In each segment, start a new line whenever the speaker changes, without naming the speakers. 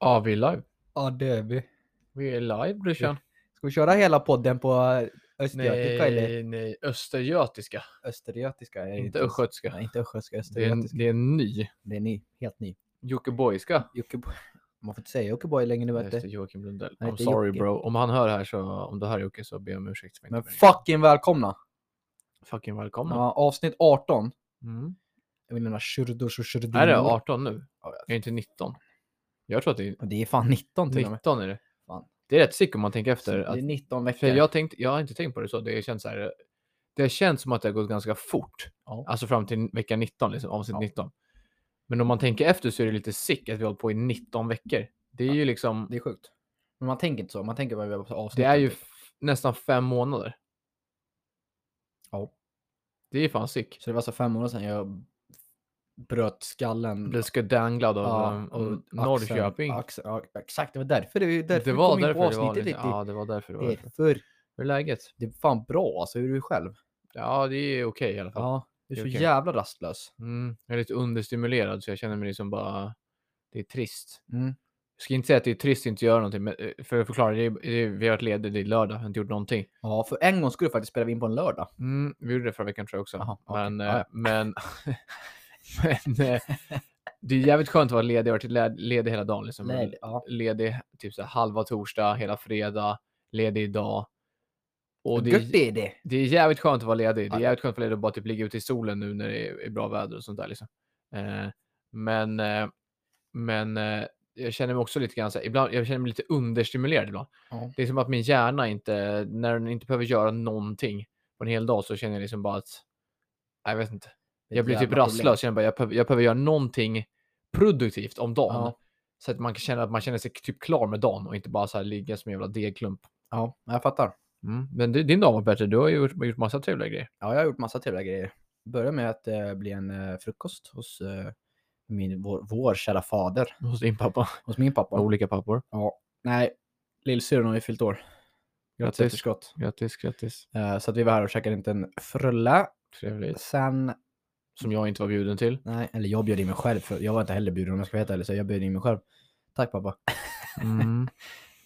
Ja, vi är live.
Ja, det är vi.
Vi är live brorsan.
Ska vi köra hela podden på östgötiska eller
Nej, nej, östergötiska.
östergötiska? Är det
Inte östgötska.
Nej, inte östgötska,
Det är, en,
östergötiska.
det är en ny.
Det är ny, helt ny.
Jockibojska.
Jockiboi. Man får inte säga Jockiboi längre nu vet
Det är
du.
Joakim Lundell.
Han
I'm
heter
sorry
Jocke.
bro. Om han hör här så, om du hör Jocke så ber jag om ursäkt. För
Men
inte meningen.
fucking välkomna!
Fucking välkommen.
Ja, avsnitt 18.
Mm.
Jag menar shurdur och shurdur.
Är det 18 nu?
Ja,
Är det inte 19? Jag tror att det är
Det är fan 19 till och med.
19 är det.
Fan.
Det är rätt sick om man tänker efter.
Det
Att,
är 19
för
veckor.
jag, tänkt, jag har inte tänkt på det så. Det känns så här. Det känns som att det har gått ganska fort.
Ja.
Alltså fram till vecka 19, liksom, avsnitt
Ja.
19. Men om man tänker efter så är det lite sick att vi har hållit på i 19 veckor. Det är ju liksom,
Det är sjukt. Men man tänker inte så. Man tänker bara på avsnitt. typ-
det är ju f- nästan fem månader.
Ja.
Det är ju fan sick.
Så det var så fem månader sedan jag bröt skallen.
Blev skandanglad av
Mm.
ja,
Ja, och axeln-
Norrköping.
axeln- ja, exakt, det var därför det, därför
det
vi
var
kom in på
därför det var
avsnittet
lite,
riktigt.
Ja, det var därför det var. därför.
Därför.
Hur är läget?
Det är fan bra alltså, hur är du själv?
Ja, det är okej i alla fall.
Ja, du är
det
så
är okej.
jävla rastlös.
Mm, jag är lite understimulerad så jag känner mig liksom bara, det är trist.
Mm.
Jag ska inte säga att det är trist att inte göra någonting, men eh, för att förklara, det är, det är, vi har varit lediga i lördag, har inte gjort någonting.
Ja, för en gång skulle faktiskt spela in på en lördag.
Mm, vi gjorde det förra veckan tror jag också.
Jaha, okej.
men,
Ja, ja.
eh, men, men eh, det är jävligt skönt att vara ledig. Jag har varit led- ledig hela dagen. Liksom.
Nej, ja.
Ledig typ så här, halva torsdag, hela fredag, ledig idag. Och det
Gött
är,
är det.
det är jävligt skönt att vara ledig. Det
Ja.
är jävligt skönt att vara ledig och bara typ ligga ute i solen nu när det är, är bra väder och sånt där. Liksom. Eh, men eh, men eh, jag känner mig också lite grann så här, ibland, jag känner mig lite understimulerad ibland.
Ja.
Det är som att min hjärna inte, när den inte behöver göra någonting på en hel dag så känner jag liksom bara att, jag vet inte.
Det är
Jag
ett
blir typ
jävla problem.
rastlös, jag, bara, jag, behöver, jag behöver göra någonting produktivt om dagen.
Ja.
Så att man kan känna att man känner sig typ klar med dagen och inte bara så här ligga som en jävla degklump.
Ja, jag fattar.
Mm. Men du, din dag var bättre, du har ju gjort, gjort massa trevliga grejer.
Ja, jag har gjort massa trevliga grejer. Började med att eh, bli en eh, frukost hos eh, min, vår, vår kära fader,
Hos din pappa.
hos min pappa.
Och Olika pappor.
Ja. Nej, lillsyrran har ju fyllt år. Grattis
Grattis.
efterskott.
Grattis, grattis.
Eh, Så att vi var här och käkade inte en frulle.
Trevligt.
Sen,
Som jag inte var bjuden till.
nej, eller jag bjöd in mig själv. För jag var inte heller bjuden om jag ska vara helt ärlig, så jag bjöd in mig själv. Tack pappa.
Mm.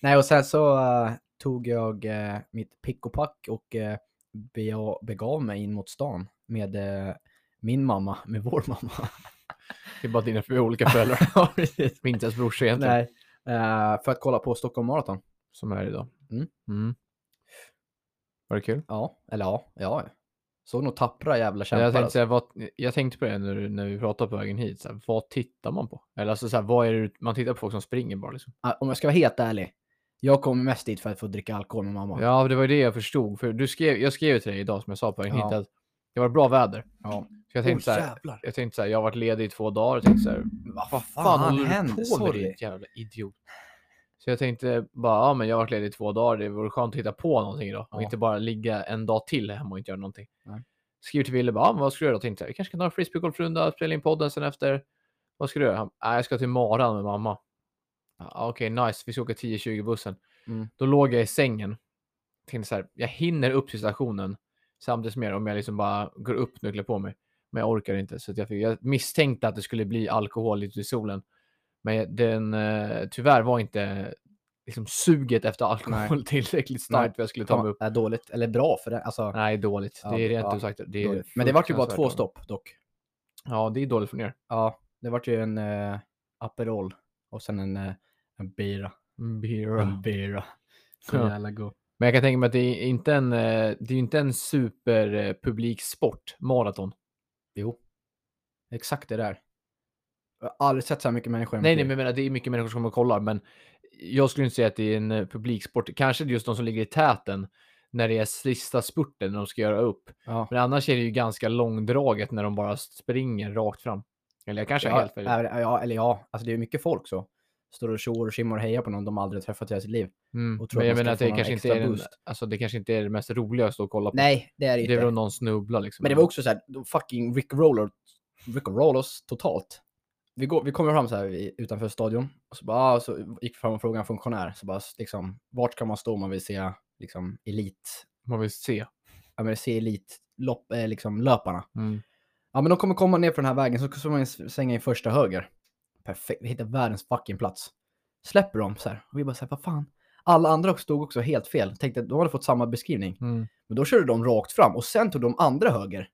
Nej, och sen så eh, tog jag eh, mitt pick och pack och eh, be- begav mig in mot stan med eh, min mamma, med vår mamma.
Det är bara dina för olika föräldrar.
Ja, precis.
Inte ens brorsa egentligen.
Nej, eh, för att kolla på Stockholm Marathon.
Som är idag.
Mm.
Mm. Var det kul?
Ja, eller ja, ja. Såg nog tappra jävla kämpar.
Jag tänkte,
alltså.
säga, vad, jag tänkte på det när, du- när vi pratade på vägen hit. Så här, vad tittar man på? Eller alltså, så här, vad är det, man tittar på folk som springer bara liksom.
Ah, Om jag ska vara helt ärlig. Jag kommer mest dit för att få dricka alkohol med mamma.
Ja, det var ju det jag förstod. För du skrev, jag skrev till dig idag som jag sa på vägen hit
Ja.
att det var bra väder.
Ja.
Så jag
Åh
tänkte så här,
jävlar.
jag tänkte så här, jag har varit ledig i två dagar och tänkte så här,
Vad fan,
håller du
hände?
på med
Sorry.
din jävla idiot? Så jag tänkte bara, ja men jag har varit ledig i två dagar, det vore skönt att hitta på någonting idag. Och
Ja.
inte bara ligga en dag till hemma och inte göra någonting.
Nej.
Skriver till Wille, bara, ja, men vad ska du göra då? Tänkte jag, vi kanske kan ta en frisbeegolfrunda, spela in podden sen efter. Vad ska du göra? Han, "Nej, jag ska till Maran med mamma. Ja, Okej, nice, vi ska åka 10-20 bussen.
Mm.
Då låg jag i sängen. Tänkte så här, jag hinner upp till stationen samtidigt som jag, om jag liksom bara går upp nu och klär på mig. Men jag orkar inte. Så att jag, fick, jag misstänkte att det skulle bli alkohol ute i solen. Men den eh, tyvärr var inte liksom, suget efter alkohol tillräckligt starkt
Nej.
för jag skulle ta
Ta
mig upp.
är dåligt, eller bra för det. Alltså,
Nej, dåligt.
Ja,
det är rent
ja,
ut sagt. Det är
dåligt. Men det vart ju bara
fruktansvärt
två
dåligt.
stopp dock.
Ja, det är dåligt för er.
Ja, det vart ju en eh, Aperol och sen en, eh, en bira. En bira. Så
Ja.
jävla god.
Men jag kan tänka mig att det är inte en, eh, det är ju inte en superpubliksport, maraton.
Jo. Exakt det där. Jag har aldrig sett så här mycket människor. i mitt
Nej, nej,
liv.
men jag menar, det är mycket människor som kommer och kollar, men jag skulle inte säga att det är en eh, publiksport. Kanske just de som ligger i täten när det är sista spurten när de ska göra upp.
Ja.
Men annars är det ju ganska långdraget när de bara springer rakt fram. Eller jag kanske har
Ja,
helt fel.
är- ja, eller ja, alltså det är ju mycket folk så. Står och tjoar och tjommar och hejar på någon de aldrig träffat i hela sitt liv.
Mm.
och tror
Men
att
jag menar
man ska
att
få
det
någon
kanske, inte
extra
är den,
boost.
alltså, det kanske inte är det mest roliga att stå och kolla på.
Nej, det är det
det
inte.
är väl om någon snubblar liksom.
Men det var också så här, de fucking Rick Roller, Rick Rollers totalt. Vi, går, vi kommer fram så här i- utanför stadion och så, bara, ah, så gick vi fram och frågade en funktionär. Så bara, s- liksom, vart kan man stå om man vill se liksom, elit,
Man vill se.
ja, men se elitlopp, eh, liksom, löparna?
Mm.
Ja, men de kommer komma ner på den här vägen så ska man s- svänga in första höger. Perfekt, vi hittar världens fucking plats. släpper de så här. Och vi bara så här, vad fan. Alla andra stod också helt fel. Tänkte att de hade fått samma beskrivning.
Mm.
Men då körde de rakt fram och sen tog de andra höger.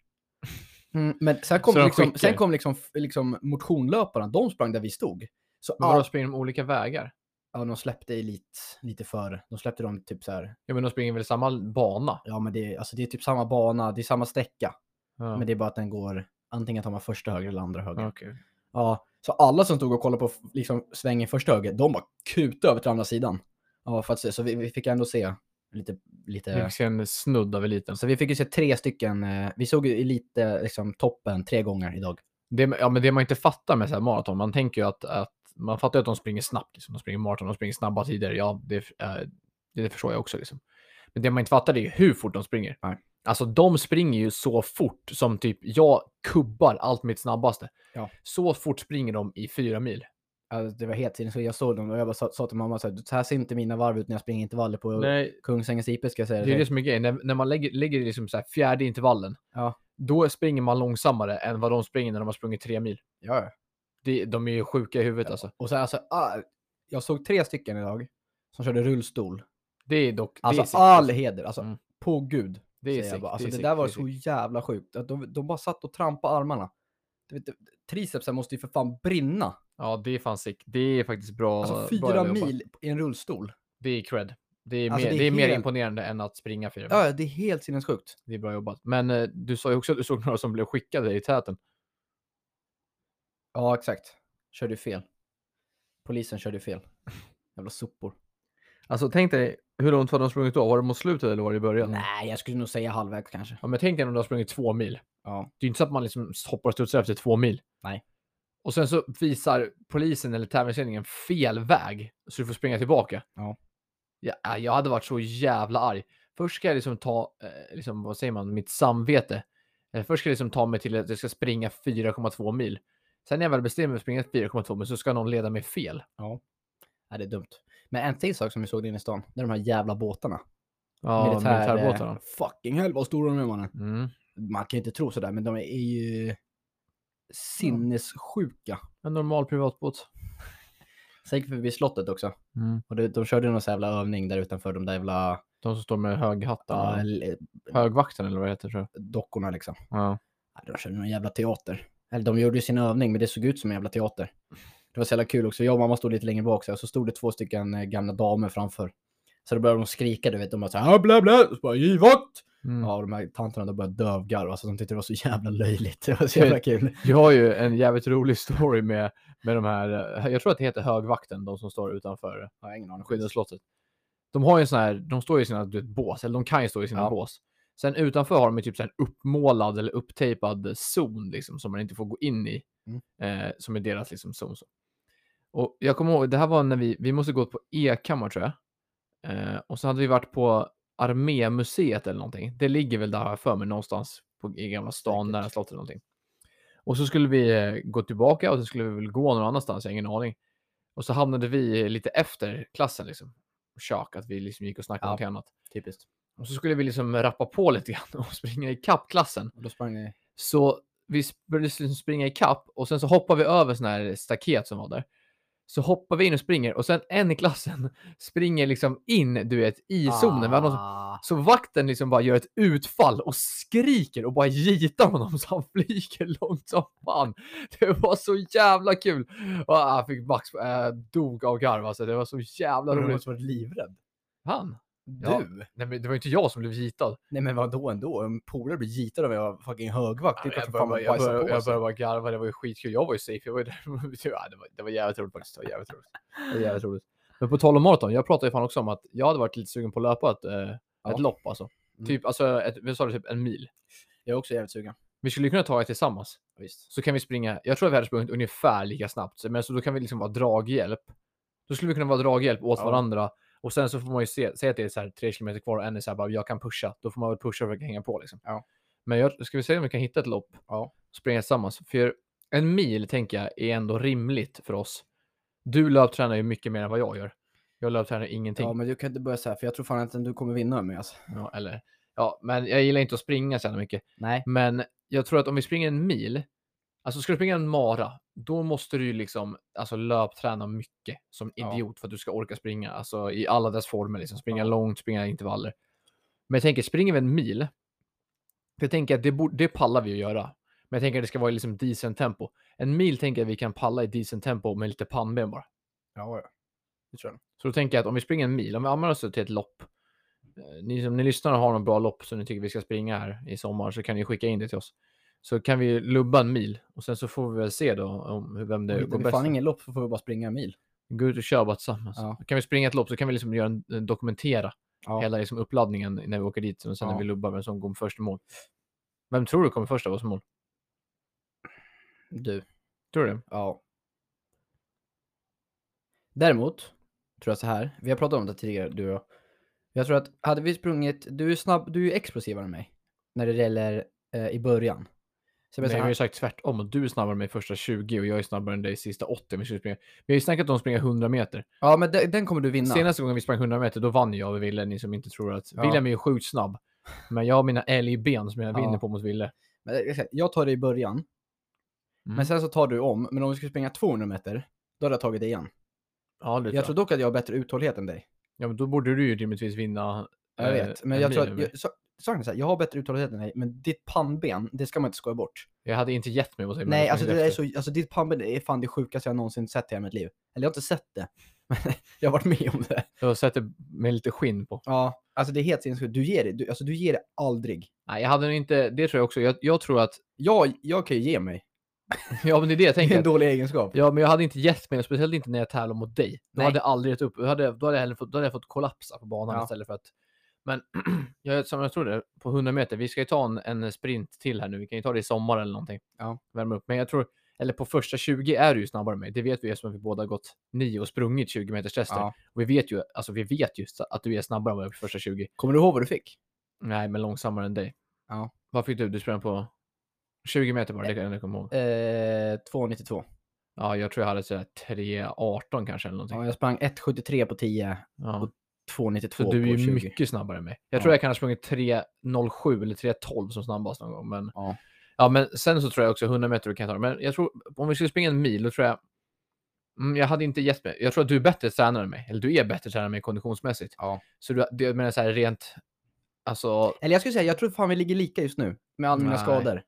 Mm, men sen kom,
Så de
liksom,
skickar.
sen kom liksom, liksom motionlöparna, de sprang där vi stod. Så
Men vadå,
all,
springer de olika vägar?
ja, de släppte lite, lite före. De släppte dem typ så här,
Ja, men de springer väl samma bana?
ja men det, är- alltså, det är typ samma bana, det är samma sträcka.
Ja.
Men det är bara att den går, antingen tar man första höger eller andra höger.
Okej.
Ja. så alla som stod och kollade på liksom, svängen första höger, de bara kutade över till andra sidan. Ja, för att se, så vi, vi fick ändå se lite,
Vi
lite
fick se en snudd av eliten.
Så Alltså, vi fick ju se tre stycken, eh, vi såg ju lite liksom, toppen tre gånger idag.
Det, ja, men det man inte fattar med så här maraton, man tänker ju att, att man fattar ju att de springer snabbt. Liksom. De springer maraton, de springer snabba tider. Ja, det, eh, det förstår jag också. Liksom. Men det man inte fattar är ju hur fort de springer.
Nej.
Alltså de springer ju så fort som typ jag kubbar allt mitt snabbaste.
Ja.
Så fort springer de i fyra mil.
Alltså, det var helt sinnessjukt, så jag såg dem och jag bara sa, sa till mamma så här, så här ser inte mina varv ut när jag springer intervaller på
Nej,
Kungsängens IP ska jag säga.
det är det som är grejen. När, när man lägger, lägger i liksom så här fjärde intervallen,
Ja.
då springer man långsammare än vad de springer när de har sprungit tre mil.
Ja, ja.
Det, de är ju sjuka i huvudet
Ja.
alltså.
Och så här, alltså, ah, jag såg tre stycken idag som körde rullstol.
Det är dock... det är
Alltså
sick,
all heder, alltså
Mm.
på gud.
Det är
säger jag
sick,
bara. Alltså,
är
det,
sick,
där var
är sick.
så jävla sjukt. Att de, de bara satt och trampade armarna. Du vet, Tricepsen måste ju för fan brinna.
Ja, det är fan sick. Det är faktiskt bra.
Alltså
bra
fyra
jobbat.
mil i en rullstol.
Det är cred. Det är,
Alltså,
mer,
det
det
är
är, mer
helt-
imponerande än att springa fyra mil.
Ja, det är helt sinnessjukt.
Det är bra jobbat. Men eh, du sa ju också att du såg några som blev skickade i täten.
Ja, exakt. Körde fel. Polisen körde fel. Jävla sopor.
Alltså tänk dig, hur långt har de sprungit då? Var det mot slutet eller var det i början?
Nej, jag skulle nog säga halvvägs kanske.
Ja, men tänk dig om de har sprungit två mil.
Ja.
Det är ju inte så att man liksom hoppar och studsar efter två mil.
Nej.
Och sen så visar polisen eller tävlingsledningen fel väg så du får springa tillbaka.
Ja.
ja äh, jag hade varit så jävla arg. Först ska jag liksom ta, eh, liksom, vad säger man, mitt samvete. Eh, först ska jag liksom ta mig till att jag ska springa 4,2 mil. Sen när jag väl bestämmer mig för att springa 4,2 mil så ska någon leda mig fel.
Nej, det är dumt. Men en till sak som vi såg inne i stan, det är de här jävla båtarna.
Ja,
Militär-
militärbåtarna.
Fucking hell vad stora de är mannen.
Mm.
Man kan ju inte tro sådär, men de är ju sinnessjuka.
En normal privatbåt. Mm.
Sen gick vi förbi slottet också. Och det, de körde någon sån jävla övning där utanför de där jävla
De som står med
ja.
höghattar.
l-
Högvakten eller vad det heter tror jag.
dockorna liksom.
Ja.
Nej, De körde någon jävla teater. Eller de gjorde ju sin övning, men det såg ut som en jävla teater. Det var så jävla kul också. Jag och mamma stod lite längre bak så, här, så stod det två stycken eh, gamla damer framför. Så då började de skrika, du vet. De bara så här, "Ah, bla bla, och så bara givakt!
Mm.
Ja, och de här tanterna de började dövgarva, alltså de tyckte det var så jävla löjligt. Det var så jävla kul.
Jag har ju en jävligt rolig story med, med de här, eh, jag tror att det heter högvakten, de som står utanför
Jag har ingen aning.
skyddade slottet. De har ju en sån här, de står ju i sina du vet, bås, eller de kan ju stå i sina
Ja.
bås. Sen utanför har de ju typ så här en uppmålad eller upptejpad zon liksom, som man inte får gå in i.
Mm.
Eh, som är deras liksom, zon. Så. Och jag kommer ihåg, det här var när vi, vi måste gått på E-kammar tror jag. Eh, och så hade vi varit på Armémuseet eller någonting. Det ligger väl där har jag för mig någonstans på, i Gamla stan,
Säkert.
nära slottet eller någonting. Och så skulle vi eh, gå tillbaka och så skulle vi väl gå någon annanstans, jag har ingen aning. Och så hamnade vi lite efter klassen liksom. Tjak, att vi liksom gick och snackade om
Ja.
någonting annat.
Typiskt.
Och så skulle vi liksom rappa på lite grann och springa i kapp klassen.
Och då sprang ni...
Så vi sp- började liksom springa i kapp och sen så hoppar vi över sån här staket som var där. Så hoppar vi in och springer och sen en i klassen springer liksom in, du vet, i zonen. Vi hade någon som-
Ah.
Så vakten liksom bara gör ett utfall och skriker och bara gitar honom så han flyger långt som fan. Det var så jävla kul. Och jag fick max, äh, dog av garv alltså. Det var så jävla
Du
roligt.
måste varit livrädd.
Han?
Du?
Ja. Nej men det var ju inte jag som blev gitad.
Nej men vadå ändå? En polare blir gitad av en jävla fucking högvakt. Det är
Jag
klart som fan
började, jag,
man bajsar
började,
på
jag
sig.
började bara garva, det var ju skitkul. Jag var ju safe, jag var ju där. Ja, det, var, det var jävligt roligt faktiskt. Det var jävligt roligt. Det var jävligt roligt. Men på tal om maraton, jag pratade ju fan också om att jag hade varit lite sugen på att löpa ett, eh,
Ja.
ett lopp alltså.
Mm.
Typ, alltså, ett, vi sa det, typ en mil.
Jag är också jävligt sugen.
Vi skulle ju kunna ta det tillsammans.
Visst.
Så kan vi springa, jag tror att vi hade sprungit ungefär lika snabbt. Så- Men så då kan vi liksom vara draghjälp. Då skulle vi kunna vara draghjälp åt
Ja.
varandra. Och sen så får man ju se, säga att det är så här tre kilometer kvar och en är så här bara, jag kan pusha. Då får man väl pusha och försöka hänga på liksom.
Ja.
Men jag, ska vi se om vi kan hitta ett lopp?
Ja.
Springa tillsammans. För en mil tänker jag är ändå rimligt för oss. Du löptränar ju mycket mer än vad jag gör. Jag löptränar ingenting.
Ja men du kan inte börja så här för jag tror fan inte du kommer vinna med alltså.
Ja, eller, ja, men jag gillar inte att springa så jävla mycket.
Nej.
Men jag tror att om vi springer en mil, alltså ska du springa en mara, då måste du ju liksom alltså, löpträna mycket som
Ja.
idiot för att du ska orka springa. Alltså i alla dess former, liksom. springa långt, springa intervaller. Men jag tänker, springer vi en mil, jag tänker att det, borde, det pallar vi att göra. Men jag tänker att det ska vara i liksom decent tempo. En mil tänker jag vi kan palla i decent tempo med lite pannben bara.
Ja, ja. Det tror jag.
Så då tänker jag att om vi springer en mil, om vi använder oss till ett lopp. eh, Ni som ni lyssnar och har någon bra lopp som ni tycker vi ska springa här i sommar så kan ni skicka in det till oss. Så kan vi lubba en mil och sen så får vi väl se då om hur- vem
Det
det
Hittar
går
vi fan
bäst.
ingen lopp så får vi bara springa en mil.
Gå ut och kör bara tillsammans.
Ja.
Kan vi springa ett lopp så kan vi liksom göra en, en- dokumentera
Ja.
hela liksom uppladdningen när vi åker dit och sen när
Ja.
vi lubbar vem som går först i mål. Vem tror du kommer först av oss i mål?
Du.
Tror du det?
Ja. Däremot, tror jag så här. Vi har pratat om det tidigare, du och jag. Jag tror att hade vi sprungit, du är snabb, du är ju explosivare än mig. När det gäller eh, i början. Så jag
Nej,
menar
vi
så
har ju
här,
sagt tvärtom och du är snabbare än mig första 20 och jag är snabbare än dig sista 80. Men vi ska springa- vi har ju snackat om att springa 100 meter.
ja men den, den kommer du vinna.
Senaste gången vi sprang 100 meter, då vann jag över Ville, ni som inte tror att...
Ja.
William är ju sjukt snabb. Men jag har mina älgben som jag
Ja.
vinner på mot Ville.
Men, jag säger, jag tar det i början. Men sen så tar du om, men om vi skulle springa 200 meter, då hade jag tagit det igen.
Ja, det tror
Jag
jag.
tror dock att jag har bättre uthållighet än dig.
Ja, men då borde du ju rimligtvis vinna.
Jag
eh,
vet, men
en
jag
mil
tror att,
över mig.
jag, så, saken är så här, jag har bättre uthållighet än dig, men ditt pannben, det ska man inte skoja bort.
Jag hade inte gett mig mot dig. men
Nej,
jag
alltså,
sprang
det där är
efter.
så, alltså ditt pannben är fan det sjukaste jag någonsin sett i hela mitt liv. Eller jag har inte sett det, men jag har varit med om det.
Jag sätter med lite skinn på.
Ja, alltså det är helt sinnessjukt. Du ger det, du, alltså du ger det aldrig.
Nej, jag hade nog inte... Det tror jag också. Jag, jag tror att...
Jag, jag kan ju ge mig.
Ja, men det är det jag
Det är
tänker.
en dålig egenskap.
Ja, men jag hade inte gett mig, speciellt inte när jag tävlar mot dig. Då
Nej.
hade jag aldrig gett upp. Då hade, jag- då hade jag hellre fått, då hade jag fått kollapsa på banan
Ja.
istället för att... Men jag, som jag trodde, på 100 meter, vi ska ju ta en, en sprint till här nu. Vi kan ju ta det i sommar eller någonting.
Ja.
Värma upp. Men jag tror, eller på första 20 är du ju snabbare än mig. Det vet vi eftersom vi båda har gått 9 och sprungit 20 meters tester.
Ja.
Och vi vet ju, alltså vi vet ju att du är snabbare än mig på första 20.
Kommer du ihåg vad du fick?
Nej, men långsammare än dig.
Ja.
Vad fick du? Du sprang på 20 meter bara, det kan jag komma ihåg.
Eh, 2,92.
Ja, jag tror jag hade sådär 3.18 kanske eller någonting.
Ja, jag sprang 1,73 på 10,
Ja.
2,92
Så
på
du är ju
20.
mycket snabbare än mig. Jag
Ja.
tror jag kan ha sprungit 3.07 eller 3.12 som snabbast någon gång. Men,
Ja.
Ja, men sen så tror jag också 100 meter kan jag ta. Men jag tror, om vi skulle springa en mil, då tror jag... Mm, jag hade inte gett mig. Jag tror att du är bättre tränare än mig. Eller du är bättre tränare än mig konditionsmässigt.
Ja.
Så du, det, jag menar så här rent... Alltså,
Eller jag skulle säga, jag tror fan vi ligger lika just nu. Med alla mina
Nej.
skador.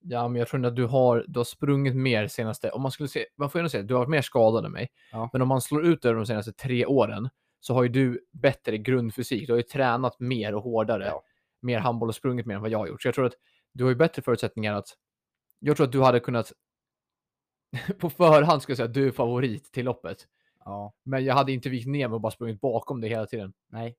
ja, men jag tror ändå att du har, du har sprungit mer senaste... Om man skulle se, man får ju ändå säga att du har varit mer skadad än mig.
Ja.
Men om man slår ut det de senaste tre åren så har ju du bättre grundfysik. Du har ju tränat mer och hårdare.
Ja.
Mer handboll och sprungit mer än vad jag har gjort. Så jag tror att du har ju bättre förutsättningar att... Jag tror att du hade kunnat... på förhand skulle jag säga att du är favorit till loppet.
Ja.
Men jag hade inte vikt ner mig och bara sprungit bakom dig hela tiden.
Nej.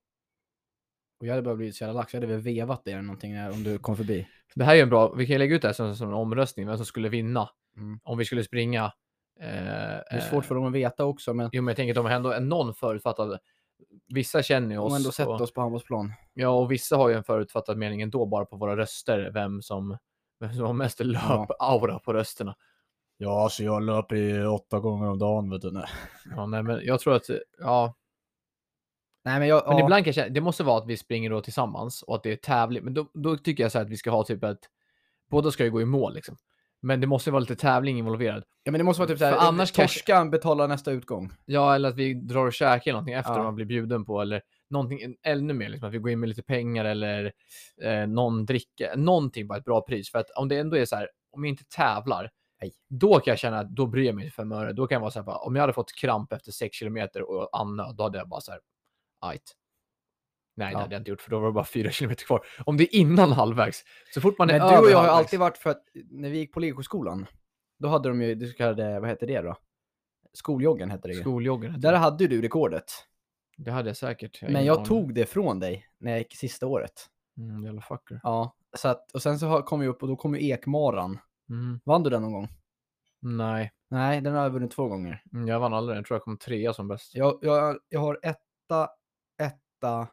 Och jag hade bara blivit så jävla lax. Jag hade väl vevat dig eller någonting när- om du kom förbi.
Det här är ju en bra... Vi kan ju lägga ut det här som, som en omröstning. Vem som skulle vinna.
Mm.
Om vi skulle springa... Eh,
Det är svårt för dem att veta också, men
Jo, men jag tänker att de har ändå någon förutfattad... Vissa känner ju
de
oss.
har ändå sett
och-
oss på handbollsplan.
Ja, och vissa har ju en förutfattad mening ändå bara på våra röster, vem som, vem som har mest löpaura på rösterna.
Ja, alltså jag löper ju åtta gånger om dagen, vet du. Nej,
Ja, nej, men jag tror att, ja,
Nej men jag...
men
ja.
ibland kanske, det måste vara att vi springer då tillsammans och att det är tävling, men då, då tycker jag så här att vi ska ha typ ett, båda ska ju gå i mål liksom. Men det måste vara lite tävling involverad.
Ja, men det måste vara typ
För
såhär,
annars
annars
kanske-
torskan betalar nästa utgång.
Ja, eller att vi drar och käkar någonting efter
Ja.
man blir bjuden på eller någonting ännu mer, liksom, att vi går in med lite pengar eller eh, någon dricka, någonting på ett bra pris. För att om det ändå är så här, om jag inte tävlar,
Nej.
då kan jag känna att då bryr jag mig inte fem öre. Då kan jag vara så här, bara, om jag hade fått kramp efter sex kilometer och annöd, då hade jag bara så här, ajt. Nej,
Ja.
det hade jag inte gjort, för då var det bara fyra kilometer kvar. Om det är innan halvvägs, så fort man är
Men
över
du och jag har ju
halvvägs-
alltid varit för att när vi gick på legoskolan, då hade de ju det så kallade, vad hette det då? Skoljoggen hette det ju.
skoljoggen. heter
Där
det.
hade ju du rekordet.
det hade jag säkert. har
Mm. Men
ingen
jag
aning.
tog det från dig när jag gick sista året.
Mm, jävla fucker.
Ja. Så att, och sen så har- kom vi upp och då kom ju ekmaran.
Mm,
Vann du den någon gång?
nej.
Nej, den har jag vunnit två gånger.
Mm, Jag vann aldrig den. Jag tror jag kom trea som bäst.
Jag, jag, jag har etta, etta,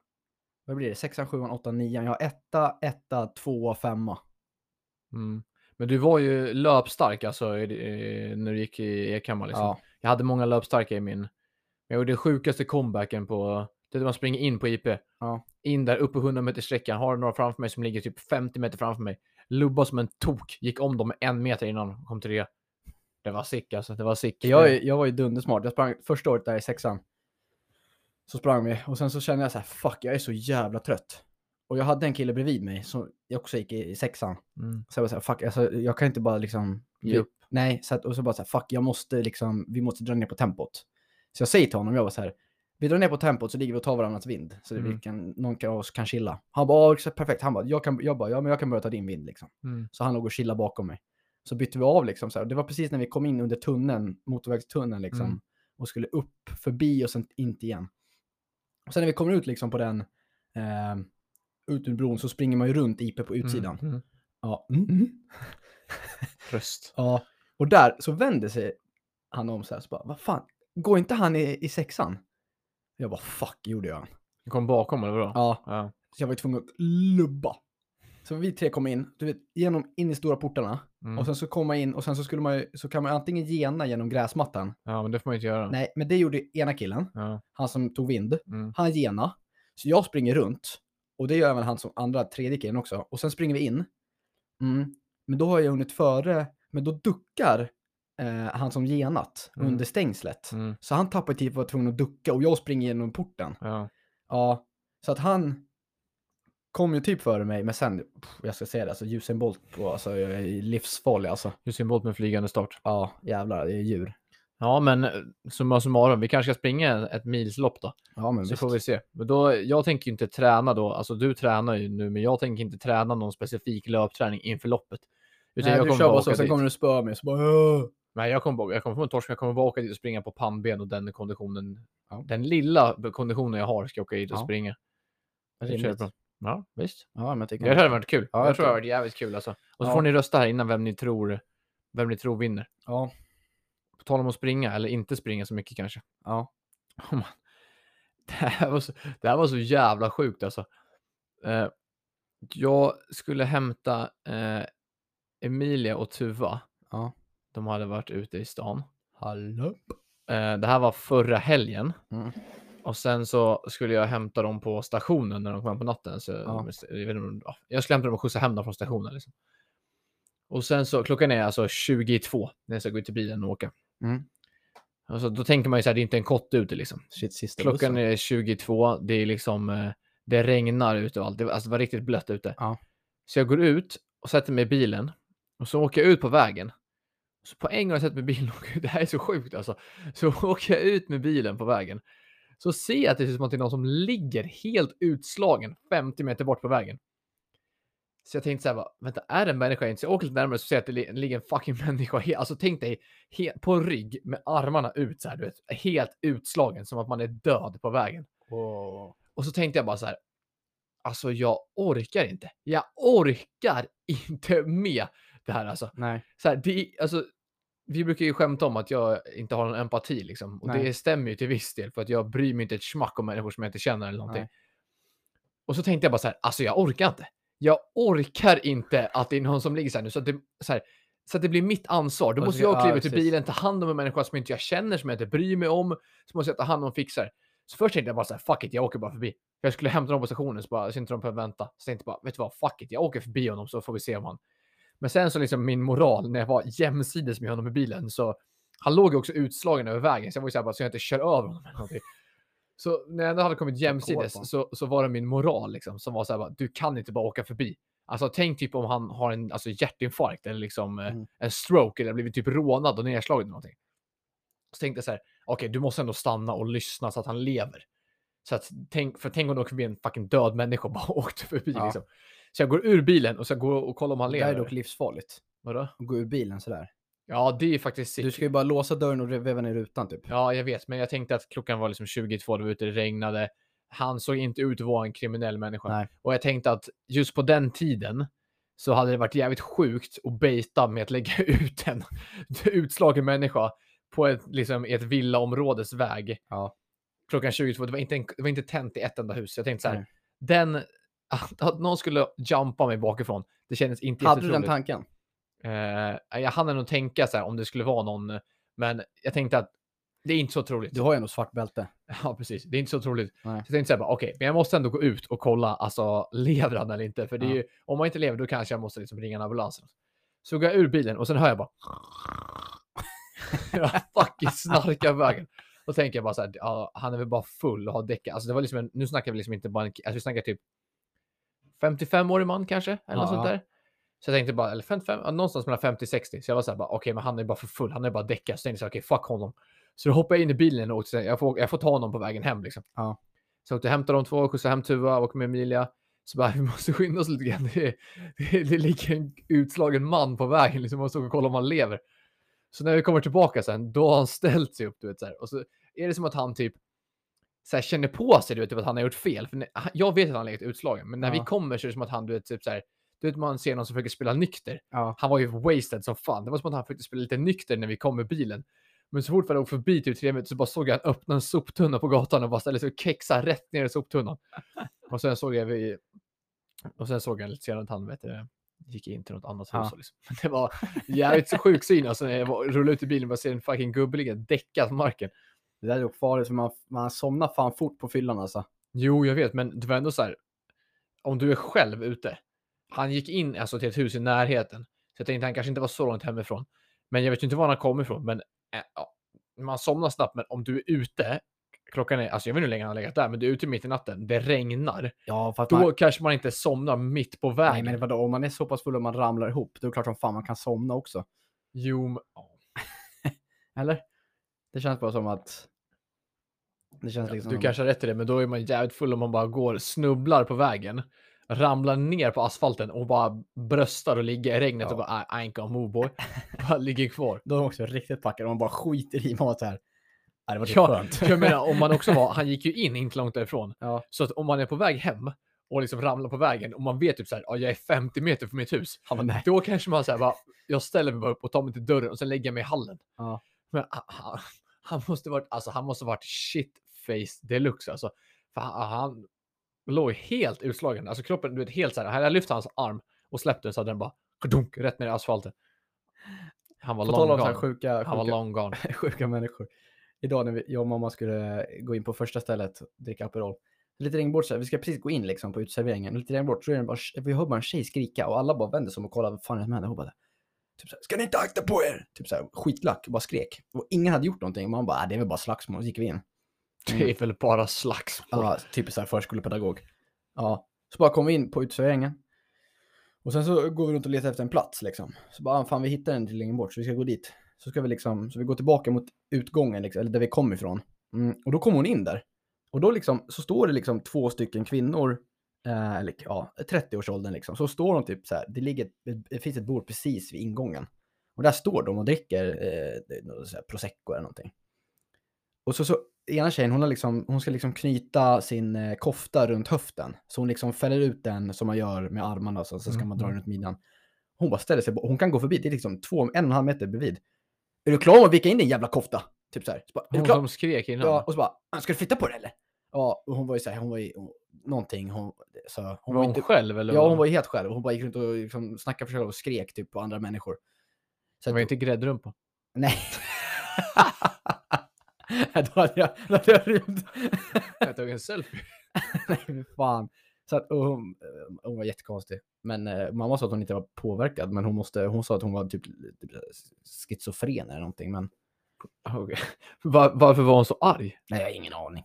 vad blir det? Sexan, sjuan, åttan, nian. Jag har etta, etta, tvåa, femma.
Mm. Men du var ju löpstark alltså i- i- när du gick i Ekhammar. Liksom.
Ja.
Jag hade många löpstarka i min. Men jag gjorde den sjukaste comebacken på... Det är när man springer in på IP.
Ja.
In där, upp på 100 meter sträckan Har några framför mig som ligger typ 50 meter framför mig. Lubba som en tok. Gick om dem med en meter innan. Kom trea. Det var sick alltså. Det var sick.
Jag, är- jag var ju dundersmart. Jag sprang första året där i sexan. Så sprang vi och sen så kände jag så här, fuck jag är så jävla trött. Och jag hade en kille bredvid mig som jag också gick i, i sexan.
Mm.
Så jag var så här, fuck alltså, jag kan inte bara liksom...
Ge upp.
Nej, så att, och så bara så här, fuck jag måste liksom, vi måste dra ner på tempot. Så jag säger till honom, jag var så här, vi drar ner på tempot så ligger vi och tar varandras vind. Så
Mm.
vi kan, någon av oss kan chilla. Han bara, "Ja, exakt, perfekt. Han bara, jag, kan, jag bara, ja men jag kan börja ta din vind liksom.
Mm.
Så han låg och chillade bakom mig. Så bytte vi av liksom. Så här. Det var precis när vi kom in under tunneln, motorvägstunneln liksom.
Mm.
Och skulle upp förbi och sen inte igen. Och sen när vi kommer ut liksom på den, eh, ut ur bron så springer man ju runt IP på utsidan.
Mm. Mm.
Ja. Mm.
Tröst.
ja. Och där så vänder sig han om så här. Så bara, vad fan, går inte han i, i sexan? Jag bara, fuck gjorde jag.
Du kom bakom eller vadå?
Ja.
Ja.
Så jag var ju tvungen att lubba. Så vi tre kom in, du vet, genom, in i stora portarna.
Mm.
Och sen så kom man in och sen så, skulle man ju, så kan man antingen gena genom gräsmattan.
ja, men det får man ju inte göra.
Nej, men det gjorde ena killen,
Ja.
han som tog vind.
Mm.
Han gena. Så jag springer runt. Och det gör även han som andra, tredje killen också. Och sen springer vi in. Mm. Men då har jag hunnit före, men då duckar eh, han som genat
Mm.
under stängslet.
Mm.
Så han tappar tid och var tvungen att ducka och jag springer genom porten.
Ja.
Ja, så att han kom ju typ före mig, men sen, pff, jag ska säga det, alltså Usain Bolt, på, alltså jag är livsfarlig alltså.
Usain Bolt med flygande start.
Ja, jävlar, det är djur.
Ja, men eh, summa summarum, vi kanske ska springa ett milslopp då.
Ja, men
Så
visst.
får vi se. Men då, jag tänker ju inte träna då, alltså du tränar ju nu, men jag tänker inte träna någon specifik löpträning inför loppet. Utan
Nej,
jag
du
kommer
kör bara
åka
så, sen
dit.
kommer du spöa mig, så bara "Åh."
Nej, jag kommer, bara- jag kommer få en torsk, men jag kommer bara åka dit och springa på pannben och den konditionen.
Ja.
Den lilla konditionen jag har ska jag åka dit och
Ja.
springa. Det
Rimligt.
kör jag på. Ja, visst.
Ja, men jag tycker
Det hade varit kul.
Ja,
jag,
jag
tror det
tror-
hade varit jävligt kul alltså. Och så
Ja.
får ni rösta här innan vem ni tror, vem ni tror vinner.
Ja,
På tal om att springa, eller inte springa så mycket kanske.
ja.
Oh man. Det, här var så, det här var så jävla sjukt alltså. Eh, jag skulle hämta eh, Emilia och Tuva.
Ja.
De hade varit ute i stan.
Hallå?
Eh, det här var förra helgen.
Mm.
Och sen så skulle jag hämta dem på stationen när de kom hem på natten. Så jag, vet inte, om- ja, jag skulle hämta dem och skjutsa hem dem från stationen. Liksom. Och sen så, klockan är alltså 22 när jag ska gå ut till bilen och åka.
Mm.
Alltså, då tänker man ju så här, det är inte en kotte ute liksom.
Shit, sista
Klockan
bussen.
är 22, det är liksom, eh, det regnar ute och allt. Det, var- alltså, det var riktigt blött ute.
Ja.
Så jag går ut och sätter mig i bilen och så åker jag ut på vägen. Så på en gång jag sätter mig i bilen, och åker ut. det här är så sjukt alltså. Så åker jag ut med bilen på vägen. Så ser jag att det ser ut som att det är någon som ligger helt utslagen 50 meter bort på vägen. Så jag tänkte så här, bara, vänta, är det en människa? jag inte ser? Jag åker lite närmare så ser jag att det li- ligger en fucking människa. he- Alltså tänk dig he- på en rygg med armarna ut så här, du vet, helt utslagen som att man är död på vägen.
Wow.
Och så tänkte jag bara så här. Alltså jag orkar inte. Jag orkar inte med det här alltså.
Nej.
Så här, det, är- alltså vi brukar ju skämta om att jag inte har någon empati liksom. Och det
Nej.
stämmer ju till viss del för att jag bryr mig inte ett smack om människor som jag inte känner eller någonting.
Nej.
Och så tänkte jag bara så här, alltså jag orkar inte. Jag orkar inte att det är någon som ligger så här nu så att det, så här, så att det blir mitt ansvar. Då
Och
måste
så-
jag
ja,
kliva ut ur
precis.
bilen, ta hand om en människa som inte jag känner, som jag inte bryr mig om. Så måste jag ta hand om och fixa det. Så först tänkte jag bara så här, fuck it, jag åker bara förbi. Jag skulle hämta dem på stationen så, bara, så inte de behöver vänta. Så tänkte jag bara, vet du vad, fuck it, jag åker förbi honom så får vi se om han... Men sen så liksom min moral när jag var jämsides med honom i bilen så han låg ju också utslagen över vägen så jag var ju så här bara så jag inte kör över honom eller någonting. Så när jag ändå hade kommit
på.
jämsides så, så var det min moral liksom som var så här bara, du kan inte bara åka förbi. Alltså tänk typ om han har en alltså, hjärtinfarkt eller liksom eh,
Mm.
en stroke eller blivit typ rånad och nedslagen eller någonting. Så tänkte jag så här, okej du måste ändå stanna och lyssna så att han lever. Så att, tänk, för tänk om du åker förbi en fucking död människa och bara åkte förbi
Ja.
liksom. Så jag går ur bilen och så går jag och kollar om han
Det här är dock
lever.
livsfarligt.
Vadå?
Att gå ur bilen sådär.
Ja, det är faktiskt sick.
Du ska ju bara låsa dörren och veva ner rutan typ.
Ja, jag vet, men jag tänkte att klockan var liksom 22, det var ute, det regnade. Han såg inte ut att vara en kriminell människa.
Nej.
Och jag tänkte att just på den tiden så hade det varit jävligt sjukt att baita med att lägga ut en utslagen människa på ett, liksom, i ett villaområdes väg.
Ja.
Klockan 22, det var inte, en, det var inte tänt i ett enda hus. Jag tänkte så här,
Nej.
den, att, att någon skulle jumpa mig bakifrån, det kändes inte
Hade du den
jättetroligt.
tanken?
Eh, jag hann nog tänka så här om det skulle vara någon, men jag tänkte att det är inte så troligt.
Du har ju ändå svart bälte.
Ja, precis. Det är inte så troligt.
Nej.
Så jag tänkte säga bara, okej, men jag måste ändå gå ut och kolla, alltså lever han eller inte? För det är
Ja.
ju, om man inte lever, då kanske jag måste liksom ringa en ambulans. Så går jag ur bilen och sen hör jag bara. jag fucking snarkar på vägen. Och tänker jag bara så här, ja, han är väl bara full och har däckat. Alltså det var liksom en, nu snackar vi liksom inte bara en, alltså vi snackar typ 55-årig man kanske, eller något
Ja.
sånt där. Så jag tänkte bara, eller 55, ja, någonstans mellan 50-60. Så jag var så här, bara, okej, men han är bara för full, han är bara däckat. Så tänkte jag så här, okej, fuck honom. Så då hoppade jag in i bilen och åkte, så här, jag får, jag får ta honom på vägen hem liksom.
Ja.
Så jag åkte och hämtade de två, skjutsade hem Tuva, åkte med Emilia. Så bara, vi måste skynda oss lite grann. Det, är- det, är- det ligger en utslagen man på vägen, liksom, man stod och kollade om han lever. Så när vi kommer tillbaka sen, då har han ställt sig upp, du vet så här. Och så är det som att han typ så här, känner på sig, du vet, typ att han har gjort fel. För när, han- jag vet att han har legat utslagen, men när vi
Ja.
kommer så är det som att han, du vet, typ så här, du vet, man ser någon som försöker spela nykter.
Ja.
Han var ju wasted som fan. Det var som att han försökte spela lite nykter när vi kom med bilen. Men så fort vi hade åkt förbi typ tre minuter så bara såg jag han öppna en soptunna på gatan och bara ställde sig och kexade rätt ner i soptunnan. Och sen såg jag vi... Och sen såg jag lite senare att han vet du, gick in till något annat hus.
Ja.
och Liksom. Men Det var jävligt så sjuk syn alltså när jag var- rullade ut i bilen och bara ser en fucking gubbe ligga däckad på marken.
Det där är dock farligt, för man, man somnar fan fort på fyllan alltså.
Jo, jag vet, men det var ändå så här. Om du är själv ute. Han gick in alltså, till ett hus i närheten. Så jag tänkte han kanske inte var så långt hemifrån. Men jag vet ju inte var han kom ifrån. Men eh, ja, man somnar snabbt. Men om du är ute. Klockan är, alltså jag vet inte hur länge han har legat där, men du är ute mitt i natten. Det regnar.
Ja, för att
Då
man,
kanske man inte somnar mitt på
nej,
vägen.
men vadå, om man är så pass full och man ramlar ihop, då är det klart som fan man kan somna också.
Jo, men- ja.
Eller? Det känns bara som att... Det känns liksom...
du kanske har rätt i det, men då är man jävligt full om man bara går, snubblar på vägen, ramlar ner på asfalten och bara bröstar och ligger i regnet och
Ja.
bara I, I ain't gonna move boy. bara ligger kvar.
Då är de också riktigt packade och man bara skiter i mat här. Ja, det var typ
Ja,
skönt.
Jag menar, om man också var, han gick ju in inte långt därifrån.
Ja.
Så att om man är på väg hem och liksom ramlar på vägen och man vet typ så här, ja, jag är 50 meter från mitt hus. Han bara,
Nej.
då kanske man säger bara, jag ställer mig bara upp och tar mig till dörren och sen lägger jag mig i hallen.
Ja.
Men han- han, han måste varit, alltså han måste varit shitface deluxe alltså. För han, han låg helt utslagen, alltså kroppen, du vet helt så här, jag lyfte hans arm och släppte den så hade den bara, kadunk, rätt ner i asfalten. Han var
På tal
long
om så här
gone.
sjuka,
Han var
sjuka,
long gone.
sjuka människor. Idag när vi, jag och mamma skulle gå in på första stället och dricka Aperol. Lite längre bort, så här, vi ska precis gå in liksom på uteserveringen. Lite längre bort så är det bara, vi hör bara en tjej skrika och alla bara vänder sig om och kollar vad fan är det som händer. Hon bara, typ så här, ska ni inte akta på er? Typ så här, skitlack, och bara skrek. Och ingen hade gjort någonting. Man bara, "Ah, det är väl bara slagsmål. Så gick vi in.
Det är väl bara slagsmål.
Ja, typ så här förskolepedagog. Ja, så bara kom vi in på uteserveringen. Och sen så går vi runt och letar efter en plats liksom. Så bara, fan vi hittar en till längre bort så vi ska gå dit. Så ska vi liksom, så vi går tillbaka mot utgången liksom, eller där vi kom ifrån. Mm, och då kom hon in där. Och då liksom, så står det liksom två stycken kvinnor, eh, eller ja, 30-årsåldern liksom. Så står de typ så här, det, ligger, ett- det finns ett bord precis vid ingången. Och där står de och dricker eh, det är något så här, prosecco eller någonting. Och så, så ena tjejen, hon, har liksom, hon ska liksom knyta sin eh, kofta runt höften. Så hon liksom fäller ut den som man gör med armarna och så, så ska
Mm,
man dra
mm.
den runt midjan. Hon bara ställer sig, bo- hon kan gå förbi, det är liksom två, en och en halv meter bredvid. Är du klar med att vika in din jävla kofta? Typ så här. Så bara, är du
Hon
klar?
som skrek innan.
Ja, och så bara, "Ah, ska du flytta på det eller? Ja, och hon var ju såhär, hon var ju hon, någonting, hon, så, hon
Hon var hon
inte,
själv eller?
Ja, hon var ju helt själv. Hon bara gick runt och liksom snackade för sig själv och skrek typ på andra människor. Så
hon
att,
var inte gräddrumpa.
Nej. då hade jag, då hade jag rymt.
Jag tog en selfie.
Nej, fy fan. Så att, och hon, eh, hon var jättekonstig. Men eh, mamma sa att hon inte var påverkad, men hon, måste, hon sa att hon var typ, typ schizofren eller någonting. Men
Okay. Var, varför var hon så arg?
nej, jag har ingen aning.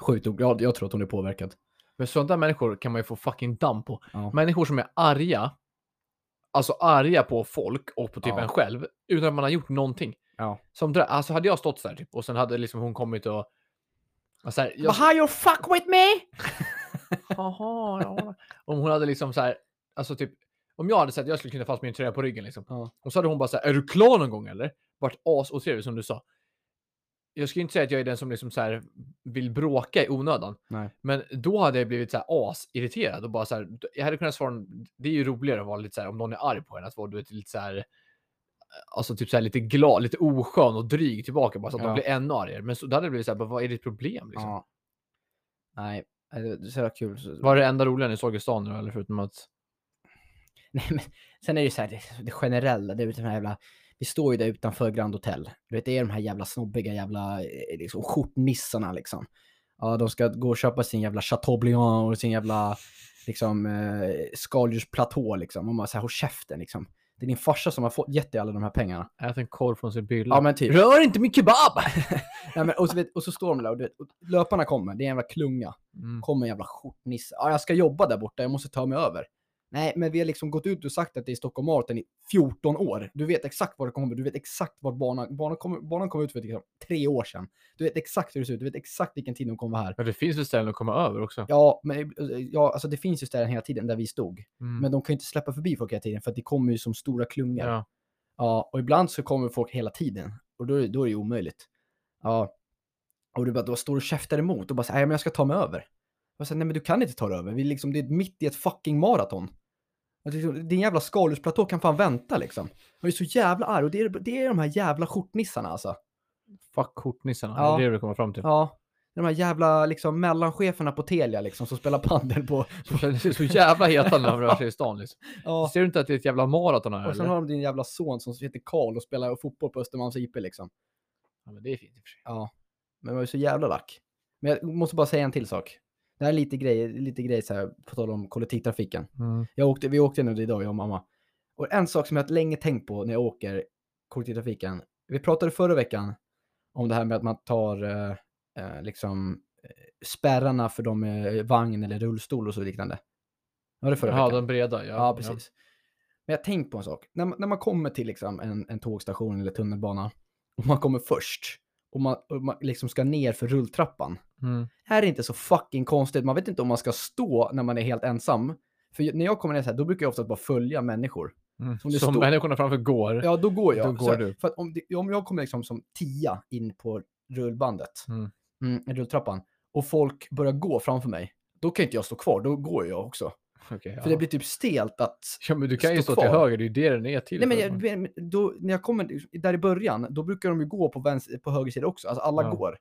Sjukt o- jag, jag tror att hon är påverkad.
Men sådana människor kan man ju få fucking damm på.
Ja.
Människor som är arga, alltså arga på folk och på typ
Ja.
en själv, utan att man har gjort någonting.
Ja.
Som, dra- alltså hade jag stått så här typ och sen hade liksom hon kommit och... och så här, jag,
How you fuck with me?
Jaha, ja. Om hon hade liksom så här, alltså typ, om jag hade sett att jag skulle kunna fast min tröja på ryggen liksom.
Ja.
Och så hade hon bara så här, är du klar någon gång eller? Vart as och som du sa. Jag skulle inte säga att jag är den som liksom så här vill bråka i onödan.
Nej.
Men då hade jag blivit så här asirriterad och bara så här, jag hade kunnat svara, det är ju roligare att vara lite så här, om någon är arg på en, att vara du vet, lite så här, alltså typ så här lite glad, lite oskön och dryg tillbaka bara så att
Ja.
de blir ännu argare. Men så, då hade det blivit så här, bara, vad är ditt problem liksom?
Ja. Nej, eh, det är så jävla kul. så-
Var det enda roliga ni såg i stan nu eller förutom att
Nej, men sen är det ju så här, det, det generella, det är ju de här jävla, vi står ju där utanför Grand Hotel. Du vet, det är de här jävla snobbiga jävla eh, liksom, skjortnissarna liksom. Ja, de ska gå och köpa sin jävla Chateaubriand och sin jävla liksom, eh, skaldjursplatå liksom. Och man så här, håll käften liksom. Det är din farsa som har fått, gett dig alla de här pengarna.
Ät en korv från sin bylla.
Ja, men typ.
Rör inte min kebab!
Nej, men, och, så vet, och så står de där och, du vet, och löparna kommer. Det är en jävla klunga.
Mm.
Kommer en jävla skjortnisse. Ja, jag ska jobba där borta. Jag måste ta mig över. Nej, men vi har liksom gått ut och sagt att det är Stockholm Marathon i 14 år. Du vet exakt var det kommer. Du vet exakt var banan, banan, kom, banan kom ut för liksom, tre år sedan. Du vet exakt hur det ser ut. Du vet exakt vilken tid de kommer vara här.
Ja, det finns väl ställen att komma över också.
Ja, men ja, alltså det finns ju ställen hela tiden där vi stod.
Mm.
Men de kan ju inte släppa förbi folk hela tiden för att det kommer ju som stora klungor.
ja.
Ja, och ibland så kommer folk hela tiden och då är, då är det ju omöjligt. Ja, och du bara då står du och käftar emot och bara så här, "Nej, men jag ska ta mig över. Och sen, nej men du kan inte ta dig över, vi är liksom, det är mitt i ett fucking maraton. Och det är liksom, Din jävla skalusplatå kan fan vänta liksom. Jag är så jävla arg och det är, det är de här jävla skjortnissarna alltså.
Fuck kortnissarna.
Ja.
Det är det du kommer fram till.
Ja, de här jävla liksom mellancheferna på Telia liksom som spelar pandel på...
Så känner sig så jävla heta när de rör sig i stan. Liksom.
Ja.
Ser du inte att det är ett jävla maraton här?
Och sen
eller?
har de din jävla son som heter Karl och spelar fotboll på Östermalms IP liksom.
Ja, men det är fint i och för sig.
Ja, men jag var ju så jävla lack. Men jag måste bara säga en till sak. Det här är lite grej, lite grej så här, på tal om kollektivtrafiken.
Mm,
Jag åkte, vi åkte nu idag, jag och mamma. Och en sak som jag har länge tänkt på när jag åker kollektivtrafiken. Vi pratade förra veckan om det här med att man tar eh, eh, liksom eh, spärrarna för de med vagn eller rullstol och så liknande. Var det förra
Ja,
veckan?
de breda. Ja,
Ja, precis. Men jag tänkte på en sak. När, man- när man kommer till liksom en, en tågstation eller tunnelbana och man kommer först och man, och man liksom ska ner för rulltrappan.
Ja. Mm.
Här är det inte så fucking konstigt. Man vet inte om man ska stå när man är helt ensam. För ju- när jag kommer ner så här, då brukar jag ofta bara följa människor.
Mm. Som,
Som det stod-
människorna framför går.
Ja, då går jag.
Då går
så,
du.
För att om, det, om jag kommer liksom som tia in på rullbandet,
Mm.
mm, rulltrappan, och folk börjar gå framför mig, då kan inte jag stå kvar. Då går jag också.
Okej, ja.
För det blir typ stelt att
ja, men du kan ju
stå
stå till
kvar.
höger. Det är ju det den är till.
Nej, men
för.
jag, men då, när jag kommer där i början, då brukar de ju gå på, vänster, på höger sida också. Alltså alla
Ja.
går.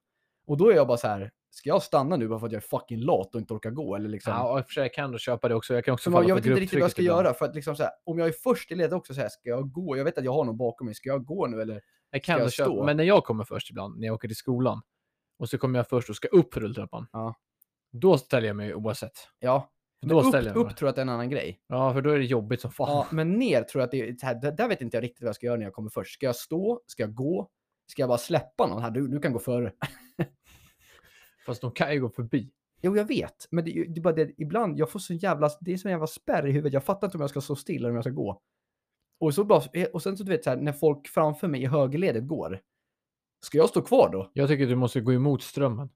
Och då är jag bara så här, ska jag stanna nu bara för att jag är fucking lat och inte orkar gå? Eller liksom.
Ja, och i och för sig jag kan då köpa det också. Jag kan också
så
falla
man, jag
för
vet inte riktigt vad jag ska
grupptrycket ibland.
göra. För att liksom så här, om jag är först i ledet också, så här, ska jag gå? Jag vet att jag har någon bakom mig. Ska jag gå nu eller?
Jag kan
Ska jag
då köpa,
stå?
men när jag kommer först ibland, när jag åker till skolan, och så kommer jag först och ska upp för rulltrappan.
Ja.
Då ställer jag mig oavsett.
Ja.
För
Men
Då ställer
upp,
jag mig.
upp tror jag att det är en annan grej.
Ja, för då är det jobbigt som fan.
Ja, men ner tror jag att det är, så här, där, där vet inte jag riktigt vad jag ska göra när jag kommer först. Ska jag stå? Ska jag gå? Ska jag bara släppa någon? Här, du, du kan gå före.
Fast de kan ju gå förbi.
Jo, jag vet. Men det, är ju- det är bara det, ibland, jag får så jävla, det är så jävla spärr i huvudet. Jag fattar inte om jag ska stå still eller om jag ska gå. Och, så bara, eh, och sen så du vet, så här, när folk framför mig i högerledet går, ska jag stå kvar då?
Jag tycker du måste gå emot strömmen.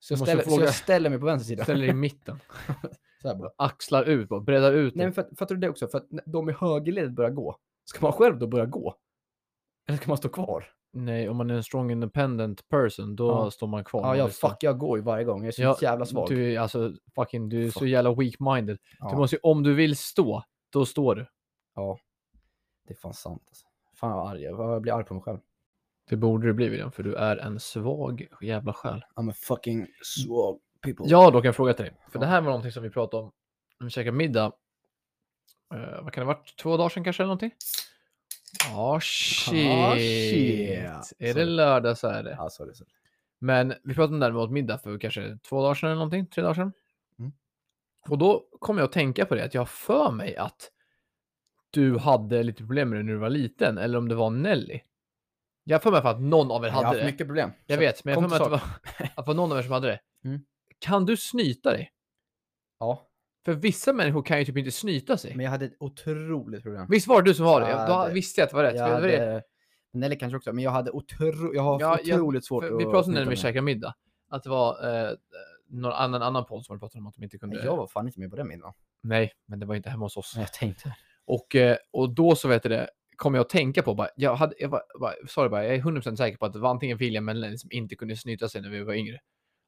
Så jag,
Måste
ställer, så
fråga-
jag ställer mig på vänster sida.
Ställer dig i mitten.
Så här bara.
Axlar ut, bara breddar ut.
Nej,
dig.
men fatt- fattar du det också? För att när de i högerledet börjar gå, ska man själv då börja gå? Eller ska man stå kvar?
Nej, om man är en strong independent person, då
Ja.
står man kvar.
Ja,
Man
jag,
vill stå.
fuck, jag går ju varje gång. Jag är så
Ja,
jävla svag.
Du är, alltså, fucking, du är så
Fuck.
jävla weak-minded. Du
ja,
måste, ju- om du vill stå, då står du.
Det är fan sant. Alltså. Fan vad arg jag jag blir arg på mig själv.
Det borde du bli, William, för du är en svag jävla själ.
I'm a fucking swag people.
Jag har dock en fråga till dig. För
Ja.
det här var någonting som vi pratade om när vi käkade middag. Eh, vad kan det ha varit? Två dagar sedan kanske eller någonting? Ja, shit.
shit.
Är
Sorry.
det lördag så är det.
Ja, sorry, sorry.
Men vi pratade om det här med åt middag för kanske två dagar sedan eller någonting, tre dagar sedan.
Mm.
Och då kom jag att tänka på det, att jag har för mig att du hade lite problem med det när du var liten, eller om det var Nelly. Jag har för mig för att någon av er
Jag har
hade
haft
det.
mycket problem.
Jag
Så-
vet, men jag
kom
har för mig att
till
det var, att det var någon av er som hade det.
Mm.
Kan du snyta dig?
Ja,
För vissa människor kan ju typ inte snyta sig.
men jag hade ett otroligt problem.
Visst var det du som var det?
Ja,
Då
det-
visste jag att det var rätt.
Jag
för det var det.
hade, Nelly kanske också, men jag hade otro, jag har
Ja, jag-
otroligt svårt
För
att...
vi pratade om det när
snyta
vi
mig.
käkade middag. Att det var eh, någon annan, annan podd som hade pratat om att de inte kunde...
Men jag var fan inte med på den middagen.
Nej, men det var inte hemma hos oss.
Men jag tänkte.
Och, eh, och då så vet du det, kom jag att tänka på, bara, jag, hade, jag, var, bara, sorry, bara, jag är 100% säker på att det var antingen William eller Lenny som inte kunde snyta sig när vi var yngre.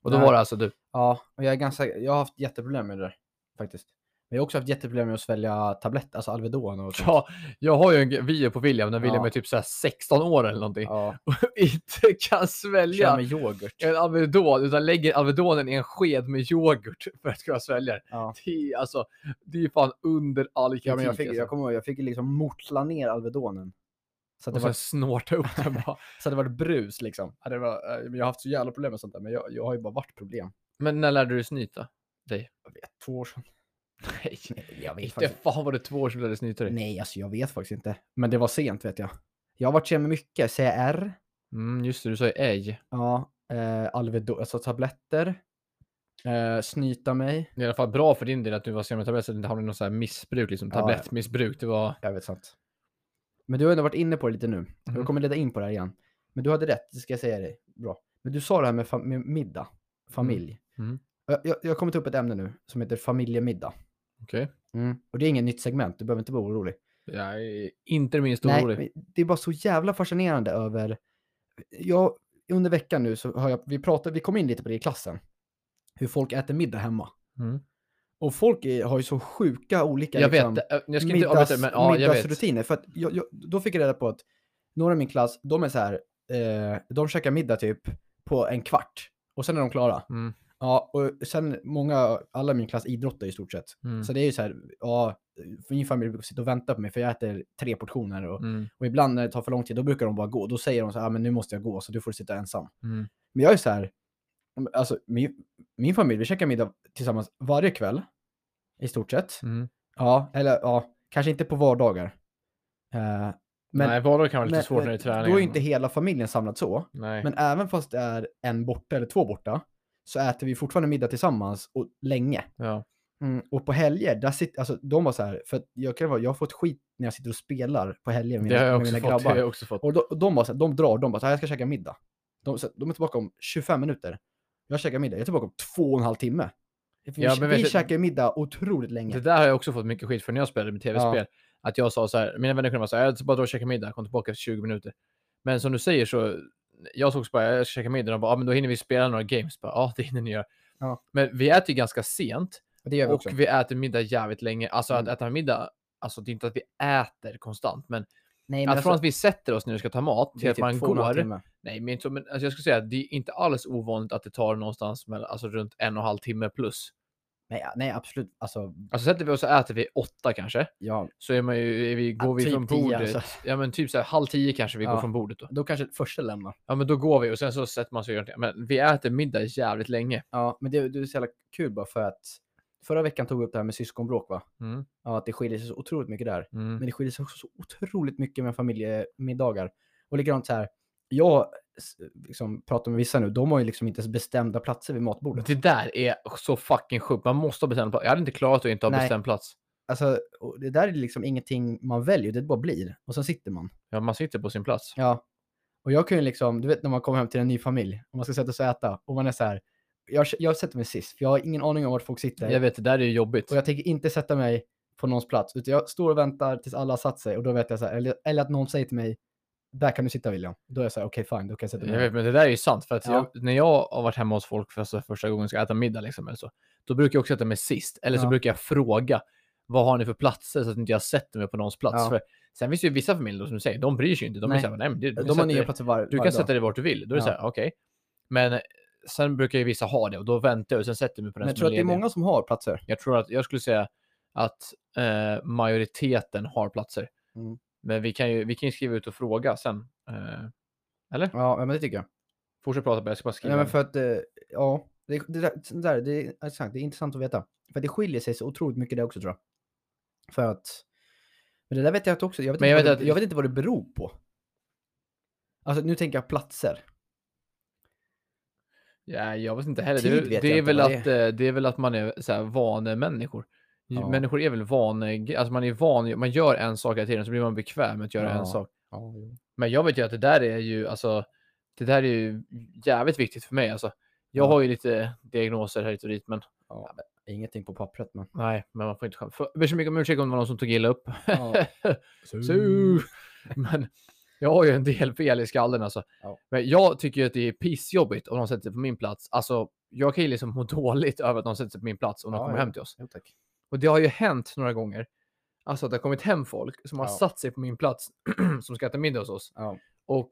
Och då
Nej.
var det alltså du.
Ja, och jag är ganska, jag har haft jätteproblem med det där. Faktiskt. Men jag har också haft jätteproblem med att svälja tabletter, alltså Alvedon och sånt.
Ja, jag har ju en video på William när William
Ja.
är typ så här 16 år eller någonting.
Ja,
Och inte kan svälja.
kör med yoghurt.
en Alvedon, utan lägger Alvedonen i en sked med yoghurt för att kunna svälja det.
Ja.
Det är, alltså, det är fan under all kritik.
Ja, men jag fick,
alltså.
jag kommer ihåg, jag fick liksom mortla ner Alvedonen. Så att det
Och
var
sen snorta upp den bara.
Så det var brus liksom. Ja, Det var, eh, men jag har haft så jävla problem med sånt där, men jag, jag har ju bara varit problem.
Men när lärde du dig snyta?
Jag vet, två år sedan.
Nej,
Nej, jag vet
inte
faktiskt
fan var det två år sedan du hade snytare.
Nej, alltså jag vet faktiskt inte. Men det var sent vet jag. Jag har varit sen med mycket. CR.
Mm, just det, du sa ju ej.
Ja. Eh, Alvedon, alltså tabletter. Eh, snyta mig.
Det är i alla fall bra för din del att du var sen med tablett så att du inte hamnade i någon så här missbruk, liksom
Ja, ja.
tablettmissbruk. Det var...
Jag vet sant. Men du har ändå varit inne på det lite nu.
Mhm.
Jag kommer leda in på det här igen. Men du hade rätt, det ska jag säga dig. Bra. Men du sa det här med, fam- med middag, familj.
Mm.
Jag, jag, jag har kommit upp ett ämne nu som heter familjemiddag. Mm.
Okej.
Och det är inget nytt segment, du behöver inte vara orolig.
Jag är inte det minsta
Nej,
orolig.
men det är bara så jävla fascinerande över... Jag, under veckan nu så har jag, vi pratat, vi kom in lite på det i klassen. Hur folk äter middag hemma.
Mm.
Och folk är, har ju så sjuka olika...
Jag
liksom,
vet, äh, jag ska inte
middags,
avbryta men ja, jag vet.
middagsrutiner. För att jag, jag, då fick jag reda på att några i min klass, de är så här, eh, de käkar middag typ på en kvart och sen är de klara.
Mm.
Ja, och sen många, alla i min klass idrottar i stort sett.
Mm.
Så det är ju så här, ja, för min familj brukar sitta och vänta på mig för jag äter tre portioner och,
Mm.
och ibland när det tar för lång tid då brukar de bara gå. Då säger de så här, ah, men nu måste jag gå så du får sitta ensam.
Mm.
Men jag är så här, alltså min, min familj, vi käkar middag tillsammans varje kväll i stort sett.
Mm.
Ja, eller ja, kanske inte på vardagar. Eh, men,
Nej, vardag kan vara lite
men-
svårt när det är
men
träning.
Då är inte hela familjen samlad så.
Nej.
Men även fast det är en borta eller två borta så äter vi fortfarande middag tillsammans och länge.
Ja. Mm.
Och på helger, där sitter, alltså de var så här, för att jag, kan vara, jag har fått skit när jag sitter och spelar på helger med,
Det har jag också
mina- med mina
fått. Det har
grabbar.
jag också fått.
Och de, och de var så här, de drar, de bara så här, jag ska käka middag. De, så, de är tillbaka om 25 minuter. Jag käkar middag, jag är tillbaka om två och en halv timme. Vi,
Ja, men vet
vi
du-
käkar middag otroligt länge.
Det där har jag också fått mycket skit för när jag spelade med tv-spel. Att jag sa så här, mina vänner kunde vara så här, jag ska bara drar och käkar middag, kom tillbaka efter 20 minuter. Men som du säger så, jag såg bara, jag ska käka middag, och bara, ja men då hinner vi spela några games. Bara, ja, det hinner ni göra.
Ja.
Men vi äter ju ganska sent
det gör vi
och
också.
vi äter middag jävligt länge. Alltså
Mm.
att äta middag, alltså det är inte att vi äter konstant, men,
Nej, alltså-
att från att vi sätter oss när vi ska ta mat till
Det är
att
typ
man
två och en halv
går.
timme.
Nej, men, inte så, men alltså, jag skulle säga att det är inte alls ovanligt att det tar någonstans mellan, alltså runt en och en halv timme plus.
Nej, ja, nej, absolut. Alltså,
Alltså sätter vi oss och äter vi åtta kanske
ja,
så är man ju, är vi, går
Ja,
vi
typ
från
tio,
bordet.
alltså.
Ja, men typ så här, halv tio kanske vi går
Ja.
från bordet då.
då kanske första lämnar.
Ja, men då går vi och sen så sätter man sig och gör någonting. Men vi äter middag jävligt länge.
Ja, men det, det är så jävla kul bara för att förra veckan tog vi upp det här med syskonbråk, va?
Mm,
Ja, att det skiljer sig så otroligt mycket där.
mm,
Men det skiljer sig också så otroligt mycket med familjemiddagar. Och likadant så här, jag s- liksom, pratar med vissa nu, de har ju liksom inte ens bestämda platser vid matbordet.
Det där är så fucking sjukt. Man måste ha bestämd plats. Jag hade inte klarat att inte ha
Nej.
bestämd plats.
Alltså, och det där är liksom ingenting man väljer, det bara blir. Och sen sitter man.
Ja, man sitter på sin plats.
Ja. Och jag kan ju liksom, du vet när man kommer hem till en ny familj och man ska sätta sig och äta och man är så här, jag, jag sätter mig sist för jag har ingen aning om vart folk sitter.
Jag vet, det där är ju jobbigt.
Och jag tänker inte sätta mig på någons plats. Utan jag står och väntar tills alla har satt sig och då vet jag så här, eller, eller att någon säger till mig, där kan du sitta William. Då är jag så här, okej fine, då kan jag sätta mig.
Jag
här."
vet, men det där är ju sant. För att
Ja.
jag, när jag har varit hemma hos folk för så- första gången och ska äta middag, liksom, eller så, då brukar jag också sätta mig sist. Eller så
Ja.
brukar jag fråga vad har ni för platser så att inte jag sätter mig på någons plats.
Ja.
För sen finns det ju vissa familjer då, som du säger, de bryr sig ju inte. De är
Nej.
så här, nej, men du, du,
De
kan
har
sätta
nya
dig,
platser var,
du
varje
kan
dag.
sätta dig vart du vill. Då är det så
Ja.
här, okej. Men eh, sen brukar ju vissa ha det och då väntar jag och sen sätter jag mig på den
Men jag
som är
tror att det är
ledig.
många som har platser.
Jag tror att jag skulle säga att eh, majoriteten har platser.
Mm.
Men vi kan ju vi kan ju skriva ut och fråga sen. Eh, eller?
Ja, men det tycker jag.
Fortsätt prata bara, jag ska bara skriva.
Nej, men för att, eh, ja, det, det, där, sånt där, det, är intressant, det är intressant att veta. För att det skiljer sig så otroligt mycket det också tror jag. För att, men det där vet jag att också, jag vet,
Men
inte,
jag
vad
vet
det,
att-
jag vet inte vad det beror på. Alltså nu tänker jag platser.
Ja, jag vet inte heller.
Tid
Det,
vet
det,
jag
är
inte
väl
vad
att,
det
eh, det är väl att man är så här, vanemänniskor.
Ja.
Människor är väl vanig, alltså man är van, man gör en sak hela tiden så blir man bekväm med att göra
Ja.
en sak.
Ja, jo.
Men jag vet ju att det där är ju, alltså, det där är ju jävligt viktigt för mig. Alltså, jag
Ja.
har ju lite diagnoser här hit och dit, men
Ja, ingenting på pappret men.
nej, men man får inte skämta. Jag ber så mycket om ursäkt om det var någon som tog illa upp.
Ja.
Så. Men jag har ju en del fel i skallen alltså.
Ja.
Men jag tycker ju att det är pissjobbigt om någon sätter sig på min plats. Alltså, jag kan ju liksom må dåligt över att någon sätter sig på min plats om de
Ja,
kommer
ja.
hem till oss.
Jo, tack.
Och det har ju hänt några gånger. Alltså att det har kommit hem folk som har
Ja.
satt sig på min plats som ska äta middag hos oss.
Ja.
Och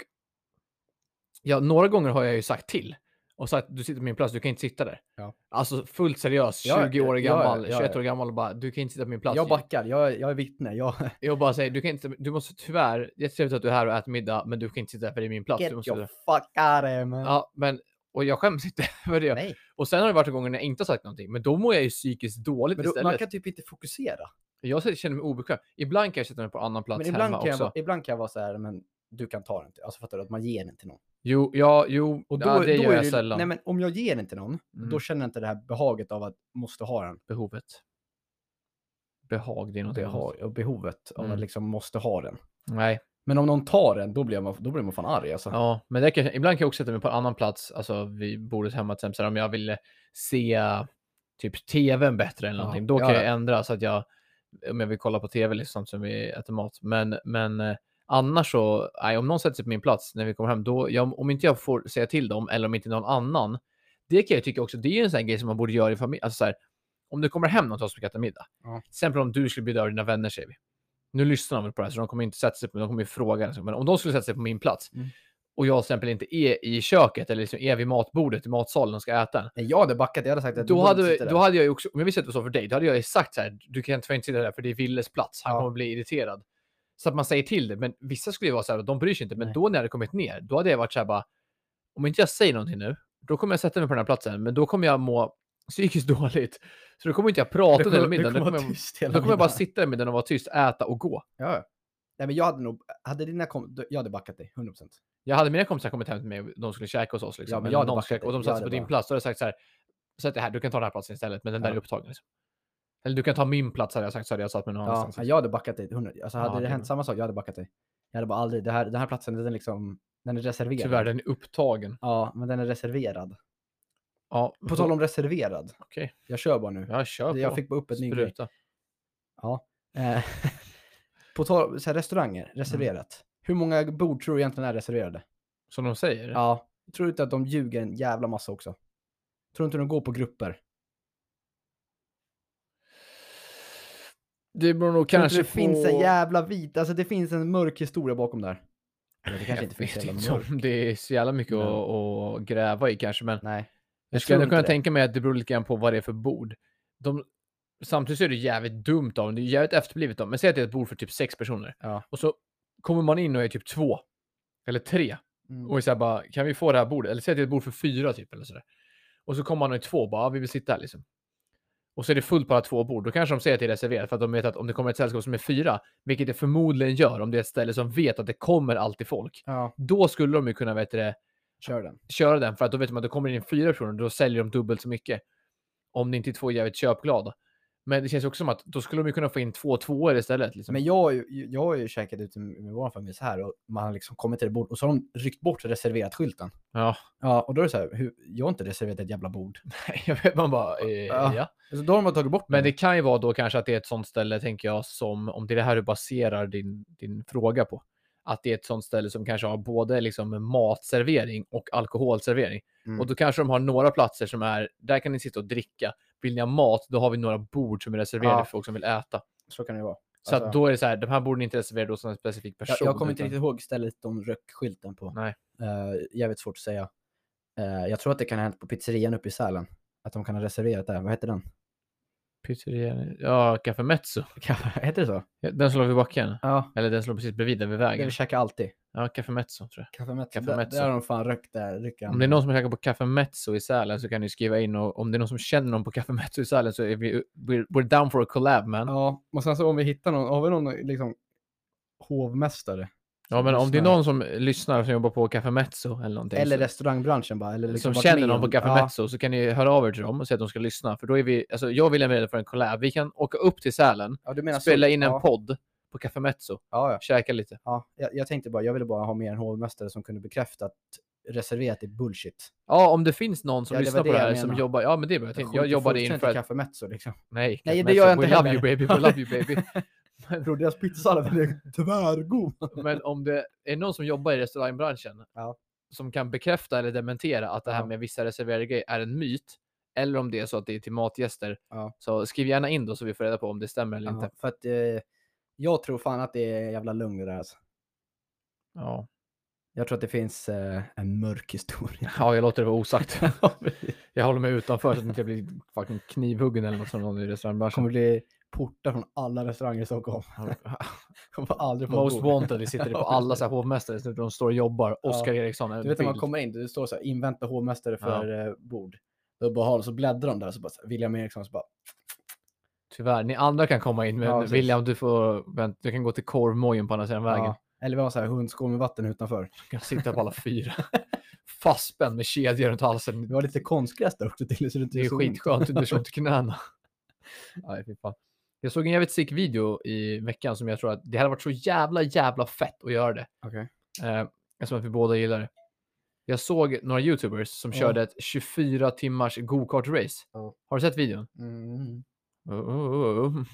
ja, några gånger har jag ju sagt till och sagt du sitter på min plats, du kan inte sitta där.
Ja.
Alltså fullt seriös,
Ja,
20 år
ja, ja,
gammal,
ja, ja.
21 år gammal och bara du kan inte sitta på min plats.
Jag backar, jag, jag är vittne. Jag...
Jag bara säger, du kan inte, du måste tyvärr, jättetrevligt att du är här och äter middag, men du kan inte sitta där för det är min plats. Du
Get
måste,
your fuck out of here man.
ja, men Och jag skäms inte över det.
Nej.
Och sen har det varit gånger när jag inte har sagt någonting, men då mår jag ju psykiskt dåligt
Men då, man
istället.
kan typ inte fokusera.
Jag känner mig obekväm. Ibland kan jag sätta mig på annan plats
Men ibland
hemma
kan, jag,
också.
vara- ibland kan jag vara så här, men du kan ta den till. Alltså fattar du? Att man ger den till någon.
Jo, ja, jo,
Och då,
ja, det
då
gör
är
jag
ju-
sällan.
Nej men om jag ger den till någon,
Mm.
då känner jag inte det här behaget av att måste ha den.
Behovet. Behag, det är något
Behag,
annat.
och behovet av
Mm.
att liksom måste ha den.
Nej,
Men om någon tar den, då blir man, då blir man fan arg alltså.
ja, men det kan, jag- ibland kan jag också sätta mig på en annan plats. Alltså, vi bor hemma till exempel. så här, Om jag ville se typ tvn bättre eller
Ja,
någonting, då
ja,
kan
ja.
jag ändra så att jag, om jag vill kolla på tv liksom som vi äter mat. Men, men eh, annars så, nej, om någon sätter sig på min plats när vi kommer hem, då, jag, om inte jag får säga till dem eller om inte någon annan, det kan jag tycka också, det är ju en sån här grej som man borde göra i familj. Alltså, så här, om det kommer hem någon till oss och ska äta middag,
Ja.
till exempel om du skulle bjuda över dina vänner säger vi. Nu lyssnar de väl på det här så de kommer inte sätta sig på, de kommer ju fråga. Liksom. Men om de skulle sätta sig på min plats
Mm.
och jag till exempel inte är i köket eller liksom är vid matbordet i matsalen och ska äta den,
Nej, jag hade backat, jag hade sagt att du
då
får inte
hade,
sitta där.
då hade jag ju också, om jag visste att det var så för dig, då hade jag ju sagt så här, du kan tyvärr inte sitta där för det är Willes plats, han
Ja.
kommer bli irriterad. Så att man säger till det, men vissa skulle ju vara så här, de bryr sig inte, men
Nej.
då när jag hade kommit ner, då hade jag varit så här bara, om inte jag säger någonting nu, då kommer jag sätta mig på den här platsen, men då kommer jag må psykiskt dåligt. Så då kommer inte jag prata under hela middagen, då kommer, jag,
tyst hela
då kommer jag bara
middagen.
sitta där med den och vara tyst, äta och gå.
Ja. ja. Nej, men jag hade nog, hade dina kom, jag hade backat dig, 100%. procent.
Jag hade mina kompisar kommit hem till mig och de skulle käka hos oss. Liksom.
Ja, men
eller
jag hade
någon
backat
skulle-
dig.
och de
Jag
satte sig
hade
på din
bara-
plats. Då hade jag sagt så här. Sätt dig här, du kan ta den här platsen istället. Men den där
Ja.
är upptagen. Liksom. Eller du kan ta min plats hade jag sagt så hade jag satt mig någon
Ja,
annanstans.
jag hade backat dig, 100. Alltså hade
Ja,
det
okej,
hänt
bra.
samma sak, jag hade backat dig. Jag hade bara aldrig, det här, den här platsen, den är liksom, den är reserverad.
Tyvärr, den är upptagen.
Ja, men den är reserverad.
Ja,
På tal om reserverad.
Okej.
Jag kör bara nu.
Ja, kör på.
jag fick bara upp ett ny grej.
Spruta.
Ja. Eh, på tal så här, restauranger,
Mm.
reserverat. Hur många bord tror du egentligen är reserverade?
Som de säger.
Ja. Tror du inte att de ljuger en jävla massa också? Tror du inte de går på grupper?
Det beror nog
Tror du
kanske
inte det finns en
på-
jävla vit, alltså det finns en mörk historia bakom där. Eller det
Jag
kanske inte finns
vet
en
inte
jävla mörk.
om det är så jävla mycket
Men-
att, att gräva i kanske. Men
Nej.
Jag
tror
skulle ändå
inte
kunna
det.
tänka mig att det beror lite grann på vad det är för bord. De, samtidigt så är det jävligt dumt av dem. Det är jävligt efterblivet av dem. Men säg att det är ett bord för typ sex personer.
Ja.
Och så kommer man in och är typ två. Eller tre.
Mm.
Och är så här bara, kan vi få det här bordet? Eller säg att det är ett bord för fyra typ. Eller så där. Och så kommer man och är två och bara, "Ja, vi vill sitta här liksom. Och så är det fullt på alla två bord. Då kanske de säger att det är reserverat för att de vet att om det kommer ett sällskap som är fyra, vilket det förmodligen gör om det är ett ställe som vet att det kommer alltid folk,
Ja,
då skulle de ju kunna, vet du det,
kör den.
köra den för att då vet man att det kommer in fyra personer då säljer de dubbelt så mycket. Om det inte är två jävligt köpglada. Men det känns också som att då skulle de ju kunna få in två tvåor istället. Liksom.
Men jag, har ju- jag har ju käkat ute med vår familj så här och man har liksom kommit till det bord och så har de ryckt bort reserverat skylten.
Ja,
Ja, och då är det så här, hur, jag har inte reserverat ett jävla bord.
jag vet man bara, eh,
Ja.
ja.
Alltså, då har man tagit bort
Men
den.
det kan ju vara då kanske att det är ett sånt ställe, tänker jag, som om det är det här du baserar din, din fråga på. Att det är ett sånt ställe som kanske har både liksom matservering och alkoholservering.
Mm.
Och då kanske de har några platser som är, där kan ni sitta och dricka. Vill ni ha mat, då har vi några bord som är reserverade
Ja.
för folk som vill äta.
Så kan det ju vara.
Så att
Alltså-
då är det så här, de här borden är inte reserverade åt en specifik person.
Jag, jag kommer inte
utan-
riktigt ihåg stället de röck skylten på.
Nej.
Eh, jävligt svårt att säga. Eh, jag tror att det kan ha hänt på pizzerian uppe i Sälen. Att de kan ha reserverat där. Vad heter den?
Pizzerian- Ja, Café Mezzo.
heter det så?
Ja, Den som låg vid backen.
Ja.
Eller den som låg precis bredvid, där vid
Det
vägen.
vi käkar alltid.
Ja, Café Mezzo tror jag.
Café Mezzo.
Café
Där,
Mezzo.
där har de fan rökt där. Rycker
Om det är någon som käkar på Café Mezzo i Sälen så kan ni skriva in och om det är någon som känner någon på Café Mezzo i Sälen så är vi we're, we're down for a collab man. Ja,
Ja, och sen så om vi hittar någon. Har vi någon liksom hovmästare? som
men om det är
lyssnar?
någon som lyssnar som jobbar på Café Mezzo eller någonting.
Eller
så,
restaurangbranschen bara. Eller liksom
som
varit
känner
med
någon
om-
på Café
ja,
Mezzo så kan ni höra av er till dem och säga att de ska lyssna. För då är vi, alltså jag vill är redo för en collab. Vi kan åka upp till Sälen,
ja, du menar så.
spela in en
ja,
podd på Café Mezzo,
Ja, ja.
käka lite.
ja. Jag, jag tänkte bara, jag ville bara ha med en hovmästare som kunde bekräfta att reserverat är bullshit.
Ja, om det finns någon som
Ja, det var
lyssnar
det
på det
jag
här som
menar.
jobbar. Ja, men det är bra. Jag, tänkte, jag
skiter
jobbade in
fullständigt
för
i
att...
Café Mezzo liksom.
Nej,
Nej,
Cat
det gör jag
Mezzo, We
inte
love
heller.
you baby, we love you baby. men,
Bror, deras pizzasallad är tvärgod.
men om det är någon som jobbar i restaurangbranschen
Ja.
som kan bekräfta eller dementera att det här
Ja.
med vissa reserverade grejer är en myt eller om det är så att det är till matgäster.
Ja.
Så skriv gärna in då så vi får reda på om det stämmer eller
Ja,
inte.
för att eh, jag tror fan att det är jävla lugn det där alltså.
Ja.
Jag tror att det finns eh, en mörk historia.
ja, jag låter det vara osagt. jag håller mig utanför så att jag inte blir fucking knivhuggen eller något som någon i
kommer
restaurangbranschen.
bli portar från alla restauranger i Stockholm. Han får aldrig på
Most wanted, vi sitter på alla så här hovmästare, så de står och jobbar.
Ja.
Oskar Eriksson. en
Du vet när man
bild.
kommer in, det står så här, invänta hovmästare för eh, bord. Då bara har de- så bläddrar de där så bara så här, William Eriksson så bara
Tyvärr, ni andra kan komma in, men
Ja, precis.
William, du får vänta. Du kan gå till korvmojen på andra sidan vägen.
Ja. Eller vi har så här hundskål med vatten utanför.
Du kan sitta på alla fyra. Fastspänd med kedjor runt halsen.
Vi har lite konstgräs där också till så det inte
Det är
så ont.
skitskönt, det gör ont i knäna. Nej, fy fan. Jag såg en jävligt sick video i veckan som jag tror att det hade varit så jävla, jävla fett att göra det.
Okej.
Eh, eftersom att vi båda gillar det. Jag såg några YouTubers som
Ja.
körde ett 24 timmars go-kart-race.
Ja.
Har du sett videon?
Mm.
Oh, oh, oh, oh.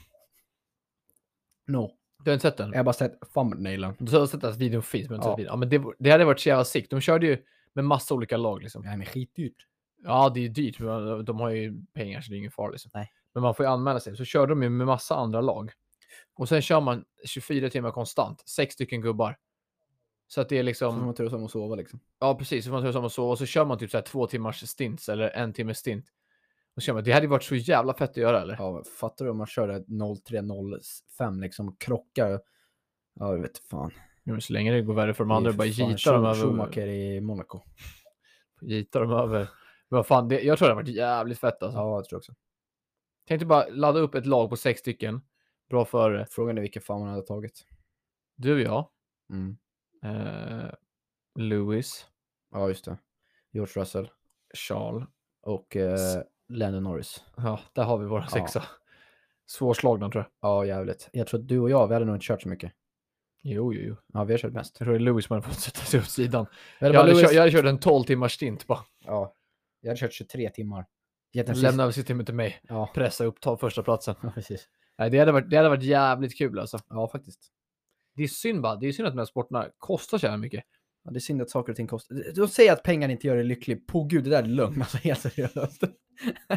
No.
Du har inte sett den?
Jag har bara sett thumbnailen.
Du har sett att videon finns, men, inte
Ja.
sett videon. Ja, men det, det hade varit så jävla sick. De körde ju med massa olika lag. Liksom.
Ja, men skitdyrt.
Ja, det är ju dyrt. Men de har ju pengar så det är ingen fara. Liksom.
Nej.
Men man får ju anmäla sig. Så kör de ju med massa andra lag. Och sen kör man 24 timmar konstant. Sex stycken gubbar. Så att det är
Som man
liksom,
har tur som att sova liksom.
ja precis, så får man tar som och sova och så kör man typ så här två timmars stints eller en timmes stint. Och så kör man. Det hade ju varit så jävla fett att göra eller?
Ja, men fattar du om man kör det 0305 liksom krockar. Ja, jag vet fan.
Jo, men så länge det går värre för de andra,
Det är
bara
för fan
gitar dem
Schum-
över. Alltså.
Schumacher i Monaco.
Gitar dem över. Men vad fan, det, jag tror det hade varit jävligt fett alltså.
Ja, jag tror också.
Tänkte bara ladda upp ett lag på sex stycken. Bra för eh,
Frågan är vilken fan man hade tagit.
du, jag,
Mm.
eh, Lewis,
Ja, just det. George Russell
Charles.
och eh, Lennon Norris.
Ja, där har vi våra
Ja.
sexa. Svårslagna tror jag.
Ja, jävligt. Jag tror att du och jag, vi hade nog inte kört så mycket.
Jo, jo, jo.
Ja, vi har kört mest.
Jag tror det är Lewis som hade fått sätta sig åt sidan.
Vi hade
Jag hade,
bara
kört,
Lewis-
jag hade kört en 12 timmars stint bara.
Ja. Jag hade kört 23 timmar. Gett en
Lämna över systemet till mig.
sista- Ja,
Pressa upp, ta första platsen.
ja, precis.
Nej, det hade varit, det hade varit jävligt kul alltså.
Ja, faktiskt.
Det är synd bara. Det är synd att de här sporterna kostar så jävla mycket.
Ja, det är synd att saker och ting kostar. De säger att pengar inte gör dig lycklig. På gud, det där är lögn. Alltså, helt seriöst.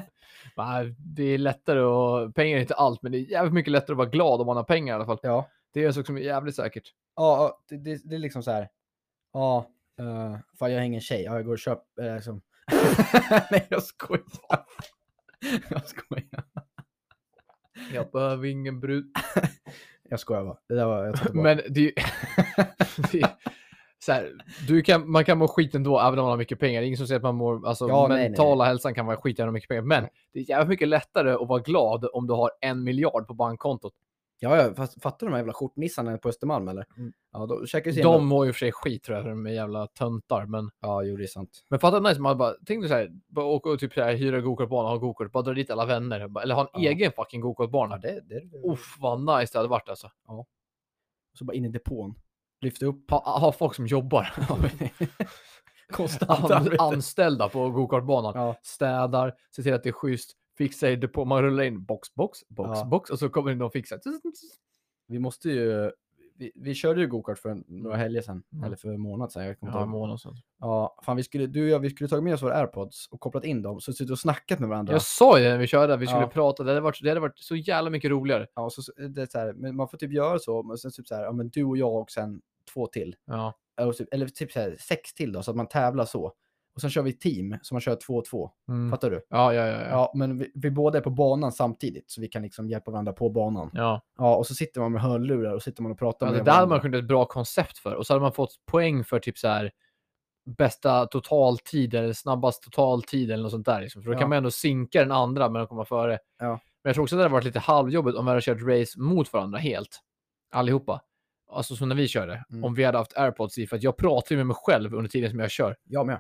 Nej, eh, Det är lättare och pengar är inte allt, men det är jävligt mycket lättare att vara glad om man har pengar i alla fall.
Ja,
Det är en sak som är jävligt säkert.
ja ja, det, det, det är liksom så här. Ja, uh, fan jag hänger en tjej. Ja, jag går och köper. eh, liksom. Nej, jag skojar. jag skojar.
Jag behöver ingen brud.
Jag skojar bara. Det där var, jag tar tillbaka.
Men det är ju... det är, så här, du kan, man kan må skit ändå, även om man har mycket pengar. Det är ingen som säger att man mår... Alltså,
Ja, nej, nej,
mentala hälsan kan vara skit även om man har mycket pengar. Men det är jävligt mycket lättare att vara glad om du har en miljard på bankkontot.
Ja, ja, fast fattar du de här jävla skjortnissarna på Östermalm eller?
Mm.
Ja, då käkar ju
De mår ju i och för sig skit tror jag, för de är jävla töntar. Men,
Ja, jo, det är sant.
men fatta nice, man bara, tänk dig så här, bara åka och typ så här, hyra gokartbana, ha gokart, bara dra dit alla vänner. bara- Eller ha en
Ja.
egen fucking
Ja,
gokartbana.
det, det, det.
Uff, vad nice det hade varit alltså.
Så bara in i depån. Lyfta upp.
Ha, ha folk som jobbar. An,
Konstant arbete.
anställda på gokartbanan.
Ja,
städar, ser till att det är schysst, fixar i depå. Man rullar in box, box, box,
Ja.
box och så kommer det någon fixa.
vi måste ju... Vi, vi körde ju gokart för en- några helger sedan.
Mm.
Eller för en månad sedan. Jag kommer inte
Ja, en
ihåg.
månad sedan.
Ja, fan, vi skulle, du och jag vi skulle tagit med oss våra airpods och kopplat in dem. Så suttit och snackat med varandra.
Jag sa ju det när vi körde, att vi skulle
Ja.
prata. Det hade, varit, det hade varit så jävla mycket roligare.
Ja, så, så- det är så här, men man får typ göra så. Men sen typ så här, ja, men du och jag och sen två till.
Ja.
Eller typ, eller typ så här, sex till då, så att man tävlar så. Och sen kör vi team, så man kör två och två.
Mm.
Fattar du?
ja, ja, ja, ja.
Ja, men vi, vi båda är på banan samtidigt, så vi kan liksom hjälpa varandra på banan.
ja.
Ja, och så sitter man med hörlurar och sitter man och pratar
ja
med
det där hade
varandra.
man kunnat ett bra koncept för. Och så hade man fått poäng för typ så här bästa totaltid eller snabbast totaltid eller något sånt där. Liksom. För då
Ja.
kan man ändå sinka den andra men komma före.
Ja.
Men jag tror också att det hade varit lite halvjobbigt om vi hade kört race mot varandra helt. Allihopa. Alltså som när vi körde.
Mm.
Om vi hade haft airpods i. För att jag pratar ju med mig själv under tiden som jag kör.
Ja, men,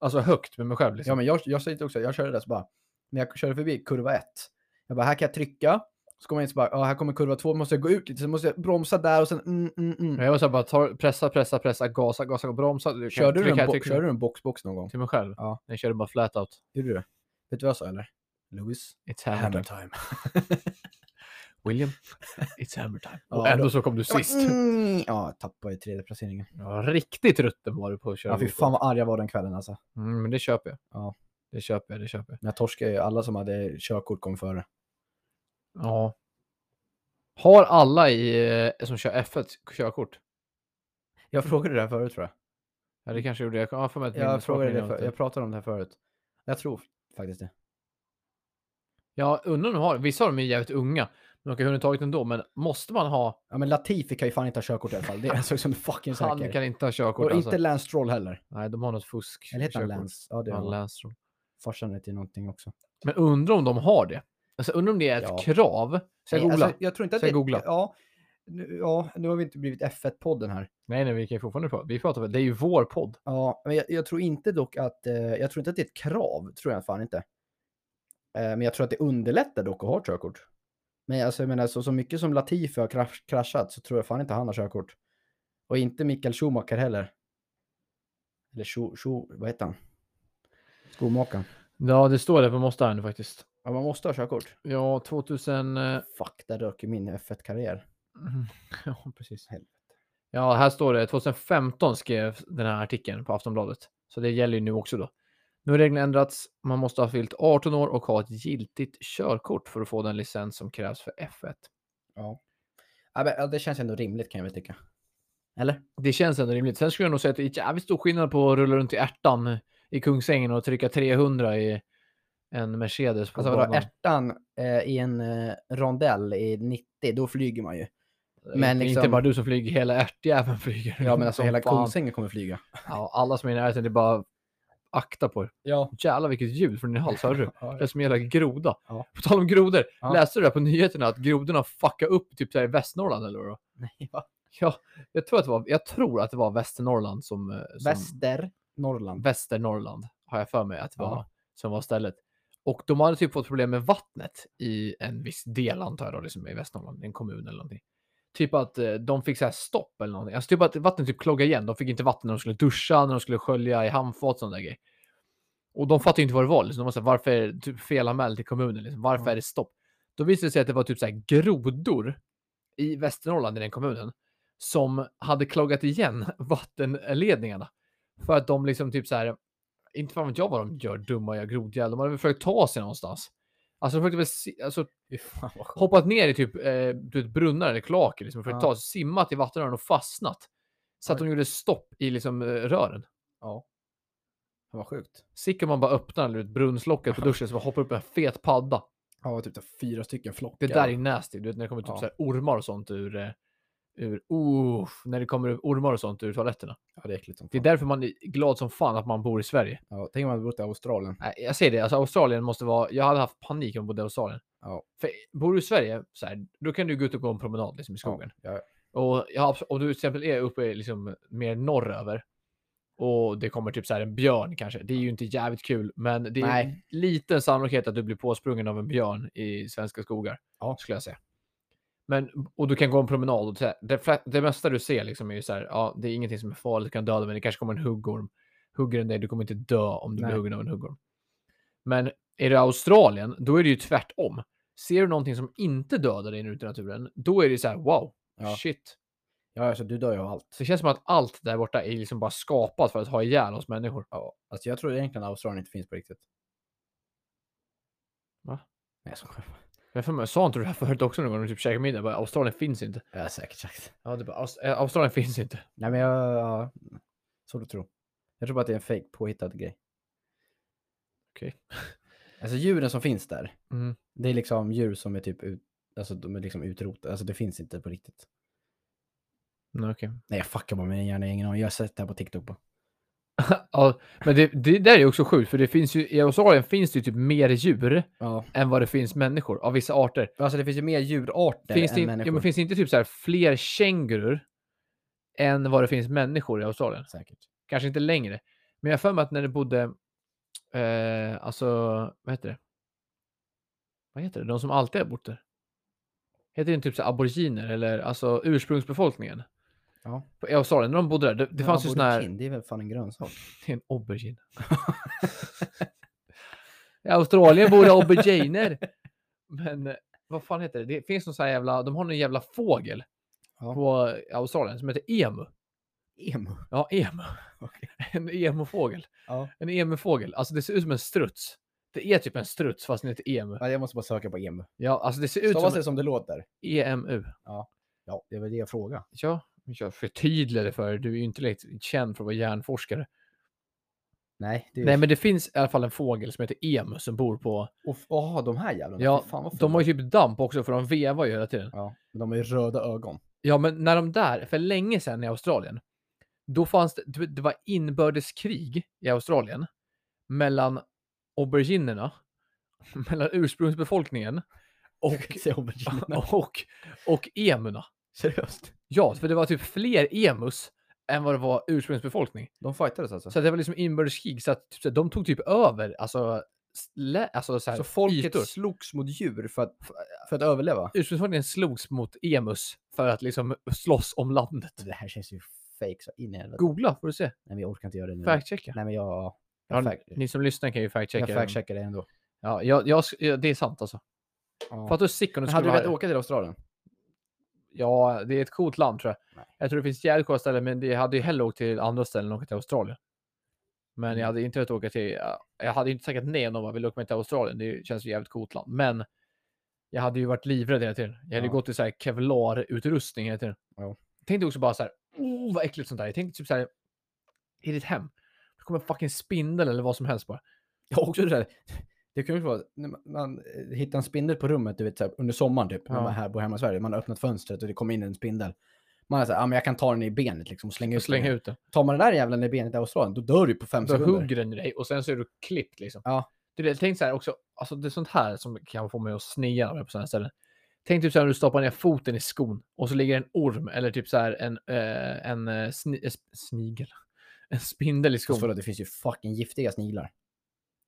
Alltså högt med mig själv.
ja,
Liksom.
men jag, jag säger det också, jag körde det så bara, när jag körde förbi kurva ett, jag bara, här kan jag trycka, så kommer jag in så bara, ja, här kommer kurva två, måste jag gå ut lite, så måste jag bromsa där och sen, mm, mm, mm.
Jag var så här bara tar, pressa, pressa, pressa, gasa, gasa, bromsa. Du kan
Körde du,
trycka
en
här,
bo-
trycka
körde du en boxbox någon gång?
Till mig själv.
Ja.
Jag körde bara flat out.
Gjorde du det? Vet du vad jag sa eller? Lewis?
It's hammer time.
time.
William, it's hammer time. Och
Ja,
ändå
då-
så kom du
Jag
sist.
bara, mm. Ja, jag tappade i tredje placeringen.
Ja, riktigt rutten var du på att köra.
Ja, fy
motor.
fan vad arg jag var den kvällen alltså.
Mm, men det köper jag.
Ja.
Det köper jag, det köper jag.
Men jag torskade ju, alla som hade körkort kom före.
Ja. Har alla i, eh, som kör F1 körkort?
Jag frågade det här förut tror jag.
Ja, det kanske gjorde jag. Jag har för mig att min
Jag, frågade
smakade
det för,
något.
jag pratade om det här förut. Jag tror faktiskt det.
Jag undrar om de har Vissa av dem är jävligt unga. Men okej, undantaget ändå, men måste man ha...
Ja, men Latifi kan ju fan inte ha körkort i alla fall. Det är jag såg som en fucking
Han
säker.
kan inte ha körkort
Och
alltså.
inte Lance Stroll heller.
Nej, de har något fusk.
Eller heter han
körkort.
Lance? Ja, det
Ja,
är han.
Lance tror jag.
Farsan heter ju någonting också.
Men undrar om de har det. Alltså undrar om det är ett
Ja.
krav. Ska jag
Nej,
googla?
Alltså, jag tror inte att
Ska jag
det-
googla?
Ja. Nu, ja, nu har vi inte blivit F1-podden här.
Nej, nej, vi kan ju fortfarande prata. Vi pratar väl. Det är ju vår podd.
Ja, men jag, jag tror inte dock att, eh, jag tror inte att det är ett krav, tror jag fan inte. Eh, men jag tror att det underlättar dock att ha körkort. Men alltså, jag menar, så, så mycket som Latifi har krasch, kraschat så tror jag fan inte han har körkort. Och inte Mikael Schumacher heller. Eller Schu, Schu, vad heter han? Skomakaren.
Ja, det står det på Mustang faktiskt.
Ja, man måste ha körkort.
Ja, 2000... eh, mhm.
Fuck, där rök ju min F1-karriär.
Ja, precis.
Helvete.
Ja, här står det 2015 skrev den här artikeln på Aftonbladet. Så det gäller ju nu också då. Nu har reglerna ändrats. Man måste ha fyllt 18 år och ha ett giltigt körkort för att få den licens som krävs för F1.
Ja. Ja, men, ja, det känns ändå rimligt kan jag väl tycka. Eller?
Det känns ändå rimligt. Sen skulle jag nog säga att det är jävligt stor skillnad på att rulla runt i ärtan i Kungsängen och trycka 300 i en Mercedes på
Alltså vadå,
banan.
ärtan eh, i en eh, rondell i 90, då flyger man ju.
Det är
men
inte- Inte
liksom-
bara du som flyger, hela ärtjäveln flyger.
Ja, men alltså
Mm. Som
hela
fan.
Kungsängen kommer flyga.
Ja, alla som är i närheten, det är bara akta på er.
Ja.
Jävlar vilket ljud från din hals, hörde du? Det är som en jävla groda.
Ja.
På tal om grodor,
Ja.
läste du det här på nyheterna att grodorna fuckade upp typ så här i Västernorrland eller vad? det var?
Nej, va?
Ja, jag tror att det var, jag tror att det var Västernorrland som... eh, som
Väster, Norrland.
Västernorrland har jag för mig att det var,
Ja.
som var stället. Och de hade typ fått problem med vattnet i en viss del antar jag då, liksom i Västernorrland, en kommun eller någonting. Typ att eh, de fick så här stopp eller någonting. Alltså typ att vattnet typ kloggade igen. De fick inte vatten när de skulle duscha, när de skulle skölja i handfat sådana där grejer. Och de fattade ju inte vad det var. Liksom. De var så här, varför är det typ felanmält till kommunen? Liksom? Varför
Ja.
är det stopp? Då visade det sig att det var typ så här grodor i Västernorrland i den kommunen som hade kloggat igen vattenledningarna. För att de liksom typ så här, inte fan vet jag vad de gör, dumma jag grodjävel. De hade väl försökt ta sig någonstans. Alltså de försökte väl si- alltså,
Fy fan vad sjukt.
hoppat ner i typ eh, du vet, brunnar eller kloaker. Liksom, och försökt
Ja.
ta sig, simmat i vattenrören och fastnat. Så att de gjorde stopp i liksom, eh, rören.
Ja. Fan, Vad sjukt.
Sick om man bara öppnar du vet, brunnslocket på duschen så bara hoppar upp en fet padda.
Ja, det var typ så fyra stycken flockar.
Det där är nasty. Du vet när det kommer typ
Ja.
så här ormar och sånt ur... eh, ur uff, när det kommer ormar och sånt ur toaletterna.
Ja, det är äckligt som
Det är
fan.
därför man är glad som fan att man bor i Sverige.
Ja, tänk om man hade bott i Australien.
Nej, jag säger det, alltså Australien måste vara... Jag hade haft panik om jag bodde i Australien.
Ja.
För bor du i Sverige, så här, då kan du gå ut och gå en promenad liksom, i skogen.
Ja,
Och ja, abs- om du till exempel är uppe liksom, mer norröver och det kommer typ så här en björn kanske. Det är ju inte jävligt kul, men det är ju en
Nej.
liten sannolikhet att du blir påsprungen av en björn i svenska skogar.
Ja.
Skulle jag säga. Men, och du kan gå en promenad och så här, det, fla- det mesta du ser liksom är ju så här, ja, det är ingenting som är farligt, du kan döda, men det kanske kommer en huggorm. Hugger den dig, du kommer inte dö om du blir
Nej.
huggen av en huggorm. Men är det Australien, då är det ju tvärtom. Ser du någonting som inte dödar dig ute i naturen, då är det så här, wow,
Ja.
shit,
ja alltså, du dör ju av allt.
så det känns som att allt där borta är liksom bara skapat för att ha ihjäl oss människor.
Ja, alltså jag tror egentligen att Australien inte finns på riktigt.
Va?
Nej, jag skojar.
Jag för mig, sa inte du det här förut också någon gång när du typ käkade middag? Bara, Australien finns inte.
Ja, säkert, säkert.
Ja, du bara, "Aus- eh, Australien finns inte.
Nej, men jag... Ja, så du tror. Jag tror bara att det är en fake påhittad grej.
Okej.
Alltså djuren som finns där,
Mm.
det är liksom djur som är typ ut, alltså, de är liksom utrotade. Alltså det finns inte på riktigt.
Nej, okej.
Nej, jag fuckar bara med min hjärna. Ingen aning. Jag har sett det här på TikTok. På.
Ja, men det, det där är ju också sjukt, för det finns ju, i Australien finns det ju typ mer djur
Ja.
än vad det finns människor av vissa arter.
Alltså det finns ju mer djurarter
Finns det,
än
in,
människor.
ja, men finns det inte typ så här fler kängurur än vad det finns människor i Australien?
Säkert.
kanske inte längre. Men jag har för mig att när det bodde, eh, alltså, vad heter det? Vad heter det? De som alltid har bott där. Heter det inte typ så här aboriginer eller alltså ursprungsbefolkningen?
Ja.
På- I Australien, när de bodde där, det, det
Men
fanns ju sådana här...
aborikin, Det är väl fan en grönsak.
Det är en aubergine. I Australien bor det auberginer. Men eh, vad fan heter det? Det finns någon sån här jävla, de har någon jävla fågel
Ja.
på eh, Australien som heter emu.
Emo.
Ja, emu. En emufågel.
Ja.
En emufågel. Alltså det ser ut som en struts. Det är typ en struts fast den heter emu.
ja. Jag måste bara söka på emo.
Ja, alltså det ser ut
Stavas
som E
det som det låter?
EMU.
Ja, det är väl det jag frågar.
Ja, jag förtydligar det för dig. Du är ju inte riktigt känd för att vara hjärnforskare.
Nej, det är
Nej, men det finns i alla fall en fågel som heter emus som bor på...
Jaha, de här jävlarna.
Ja,
Fy fan, vad
De
fula.
har ju typ damp också för de vevar ju hela tiden.
Ja, men de har ju röda ögon.
Ja, men när de där, för länge sedan i Australien, då fanns det, du vet, det var inbördeskrig i Australien mellan auberginerna, mellan ursprungsbefolkningen och,
Säger aubergine.
och, och emuerna.
Seriöst?
Ja, för det var typ fler emus än vad det var ursprungsbefolkning.
De fightades alltså?
Så att det var liksom inbördeskrig, så att typ, så här, de tog typ över, alltså, slä, alltså så här,
Så folket
ytor.
slogs mot djur för att, för att överleva?
Ursprungsbefolkningen slogs mot emus för att liksom slåss om landet.
Det här känns ju fake så in i helvete.
Googla får du se,
Nej men jag orkar inte göra det nu.
factchecka.
Nej men jag...
Ja,
Jag, fact-
ni som lyssnar kan ju
jag
factchecka.
fact-checkar det ändå.
Ja, jag, jag, sk- ja, det är sant alltså.
Ja.
Fattar du hur sick om
Men
du skulle vara
hade du velat
här?
åka till Australien?
Ja, det är ett coolt land tror jag.
Nej.
Jag tror det finns jävligt coola ställen, men det jag hade ju hellre åkt till andra ställen än åka till Australien. Men
Mm.
jag hade inte velat åka till... ja, Jag hade ju inte tackat nej om någon bara ville åka med till Australien. Det känns ju jävligt coolt land. Men jag hade ju varit livrädd hela tiden. Jag hade ju
Ja.
gått i så här kevlar-utrustning hela tiden.
Ja.
Tänkte också bara så här, oh vad äckligt sånt där. Jag tänkte typ så här, i ditt hem. Det kommer en fucking spindel eller vad som helst bara.
Ja, också det där. Det kan ju vara när man, man eh, hittar en spindel på rummet du vet, så här, under sommaren typ. När
Ja.
man här, bor hemma i Sverige. Man har öppnat fönstret och det kommer in en spindel. Man är så här, ah, men jag kan ta den i benet liksom och slänga
Jag
ut
slänger
den.
ut den.
Tar man den där jävlen i benet i Australien, då dör du på fem
Då
sekunder.
hugger den i dig och sen så är du klippt liksom.
Ja.
Det är det, tänk så här också, alltså det är sånt här som kan få mig att snea när jag är på sådana ställen. Tänk typ så här när du stoppar ner foten i skon och så ligger en orm eller typ så här en, eh, en eh, sni, eh, sp- snigel. En spindel i
Just för
skon.
att det finns ju fucking giftiga sniglar.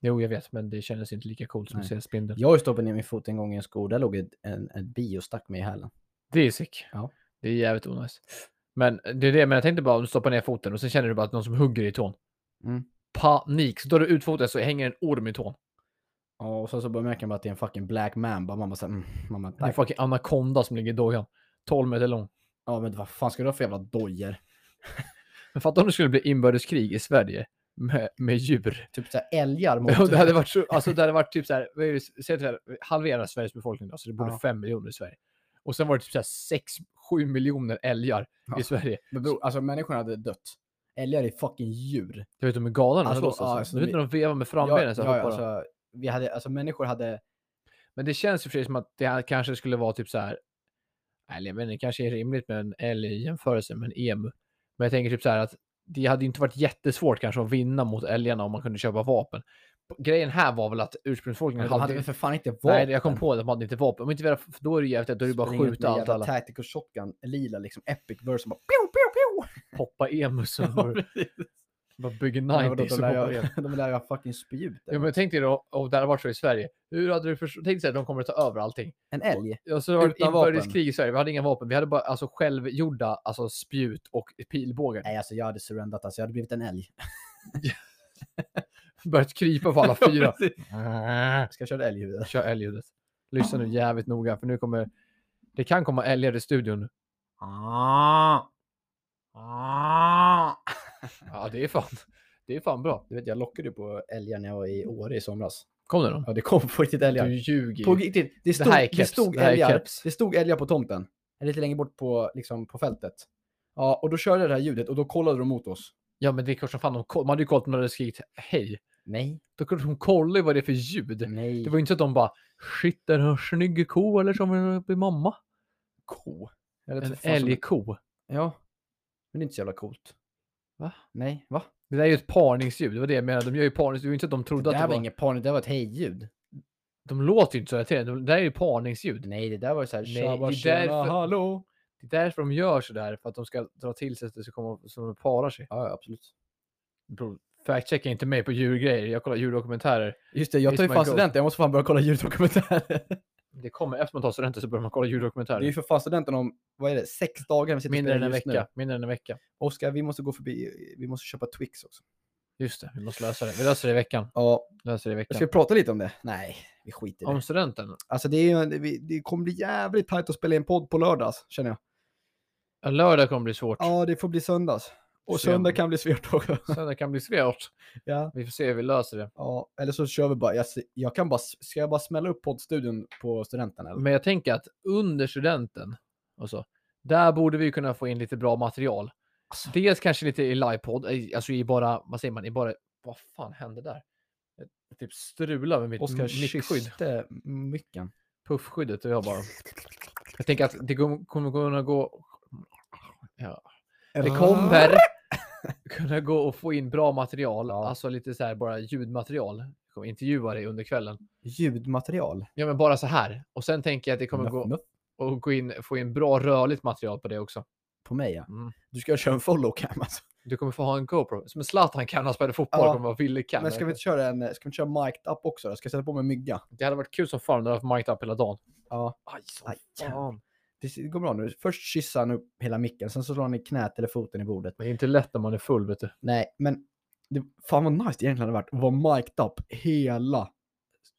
Jo, jag vet, men det kändes inte lika coolt som att
Nej.
se en spindel.
Jag har ju stoppat ner min fot en gång i en sko. Där låg ett, en, en bi och stack mig i hälen.
Det är sick.
Ja.
Det är jävligt onajs. Men det är det, men jag tänkte bara om du stoppar ner foten och sen känner du bara att någon som hugger i tån.
Mm.
Panik! Så drar du ut foten så hänger en orm i tån.
Ja, och sen så bara märker man bara att det är en fucking black man. Bara man bara såhär, mm, man bara,
Det är en
tack.
fucking anakonda som ligger i dojan. 12 meter lång.
Ja men vad fan ska du ha för jävla dojor?
Men fatta om det skulle bli inbördeskrig i Sverige med, med djur.
Typ såhär älgar mot... eh,
Ja, det hade varit, så, alltså, det hade varit typ så här, vad är det, säg att vi hade halverat Sveriges befolkning då, så det bor
Ja.
5 miljoner i Sverige. Och sen var det typ så här 6, 7 miljoner älgar
Ja.
i Sverige.
Men bror, alltså människorna hade dött. Älgar är fucking djur.
Du vet, de är galna när de
Alltså,
slåss.
ja,
Alltså.
alltså,
Du vet
vi-
när de vevar med frambenen så här,
ja, ja,
hoppar de.
alltså, vi hade, alltså människor hade...
Men det känns ju för sig som att det här kanske skulle vara typ så här. Eller jag vet inte, det kanske är rimligt med en älg i jämförelse med en emu. Men jag tänker typ så här att det hade ju inte varit jättesvårt kanske att vinna mot älgarna om man kunde köpa vapen. Grejen här var väl att ursprungsfolken
De hade väl för fan inte vapen?
Nej, jag kom på det. De hade inte vapen. Om inte vi hade, för då är det jävligt lätt. Då är det bara att
Springer runt
skjuta
med
allt
jävla
alla.
Tactical shotgun, lila liksom, epic burst som bara... Pew, pew, pew!
Poppa emusen. Bara, bara bygger 90
de,
så
lär
hoppar
jag,
igen.
de lär ju ha fucking spjut.
Ja, men tänk dig då, om det hade varit så i Sverige. Hur hade du förstått? Tänk dig att de kommer att ta över allting.
En älg?
Och så var det
Utan vapen.
inbördeskrig i Sverige. Vi hade inga vapen. Vi hade bara alltså, självgjorda alltså, spjut och pilbågar.
Nej, alltså jag hade surrendat alltså. Jag hade blivit en älg.
Börjat krypa på alla fyra.
Precis. Ska jag köra älg i huvudet?
Kör älgljudet. Lyssna nu jävligt noga, för nu kommer... Det kan komma älgar i studion nu.
Ah.
Ja, det är fan, det är fan bra.
Du vet, jag lockade ju på älgar när jag var i Åre i somras.
Kom nu då.
Ja, det kom på riktigt älgar.
Du ljuger
På
ju.
riktigt, det stod,
här är
det,
keps,
stod
det här är
älgar,
keps.
det stod älgar på tomten. Lite längre bort på, liksom, på fältet. Ja, och då körde jag det här ljudet och då kollade de mot oss.
Ja, men det är klart som fan de koll- Man hade ju kollat om de hade skrikit hej.
Nej.
Då kunde de kolla ju vad det är för ljud.
Nej.
Det var ju inte så att de bara shit, är det en snygg ko eller som vill bli mamma?
ko. Eller
En
vad fan som-
älgko.
Ja. Men det är inte så jävla coolt.
Va?
Nej, va?
Det där är ju ett parningsljud. Det var det jag menade. De gör ju parningsljud. Det är ju inte att de
Det
trodde
där
att det
var,
var...
inget parning, det där var ett hejljud.
De låter ju inte så här till. De- Det där är ju parningsljud.
Nej, det där var ju såhär...
Nej, det är därför-
hallå!
Det är därför de gör så där. För att de ska dra till sig att det ska komma så de parar sig.
Ja, ja, absolut.
Bro, Fact-checka inte mig på djurgrejer. Jag kollar djurdokumentärer.
Just det, jag
It's
tar ju
my
fan
goal.
studenten, jag måste fan börja kolla ljuddokumentärer.
Det kommer efter man tar studenten så börjar man kolla
Det är ju
djurdokumentärer.
för fan studenten om, vad är det, sex dagar vi sitter och
Mindre än
spelar
en
just nu.
vecka. Mindre än en vecka.
Oskar, vi måste gå förbi, vi måste köpa Twix också.
Just det, vi måste lösa det. Vi löser det i veckan.
Ja,
Löser det i veckan.
ska vi prata lite om det? Nej, vi skiter i det.
Om studenten?
Alltså det, är ju, en- vi- det kommer bli jävligt tajt att spela in podd på lördags, känner jag.
Ja, lördag kommer bli svårt.
Ja, det får bli söndags. Och
Sen-
söndag kan bli svårt också.
Söndag kan bli svårt.
ja.
Vi får se hur vi löser det.
ja, eller så kör vi bara, jag, s- jag kan bara, s- ska jag bara smälla upp poddstudion på studenten eller?
Men jag tänker att under studenten, och så, där borde vi kunna få in lite bra material. Dels kanske lite i livepodd, eh, alltså i bara, vad säger man, i bara vad fan hände där? Jag typ strulade med mitt
Oskar
m- mickskydd,
kysste micken.
puffskyddet och jag bara... Jag tänker att det kom- kommer kunna gå... Ja. Det kommer kunna gå och få in bra material,
Ja.
alltså lite så här bara ljudmaterial. Jag kommer intervjua dig under kvällen.
Ljudmaterial.
Ja, men bara så här. Och sen tänker jag att det kommer
Nuff,
gå
nuff.
och gå in, få in bra rörligt material på det också.
På mig ja.
Mm.
Du ska köra en follow cam alltså.
Du kommer få ha en GoPro. Som en Zlatan kan när han spelade fotboll.
Ja.
Kommer vara Wille kan.
Men ska vi inte köra en, ska vi inte köra mic'd up också då? Ska jag sätta på mig en mygga?
Det hade varit kul som fan om du hade haft mic'd up hela dagen.
Ja.
Aj, så
Aj,
fan.
Det det går bra nu. Först kysser han upp hela micken, sen så slår han i knät eller foten i bordet.
Men det är inte lätt när man är full, vet du.
Nej, men det, fan vad nice det egentligen hade varit att vara mic'd up hela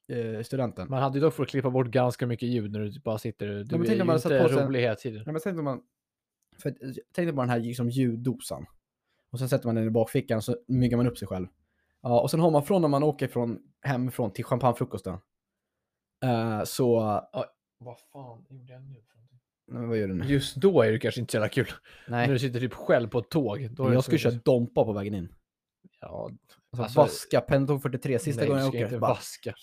eh, studenten.
Man hade ju dock fått klippa bort ganska mycket ljud när du typ bara sitter. Du
men
är
tänk
ju
om man hade
inte
satt på sig en-
rolig hela tiden.
Nej, men tänk om man... För, att- eh, tänk dig bara den här liksom, ljuddosan. Och sen sätter man den i bakfickan så myggar man upp sig själv. Ja, och sen har man från när man åker från, hemifrån till champagnefrukosten. Eh, så...
Vad fan gjorde jag nu?
Nej, vad gör du nu?
Just då är det kanske inte så jävla kul. När
Nej,
du sitter typ själv på ett tåg. Då är det
jag
inte så
skulle köra
mycket-
Dompa på vägen in.
Ja,
Alltså,
Alltså,
vaska pendeltåg 43 sista
nej,
gången jag
du ska
åker.
inte
Bara,
vaska.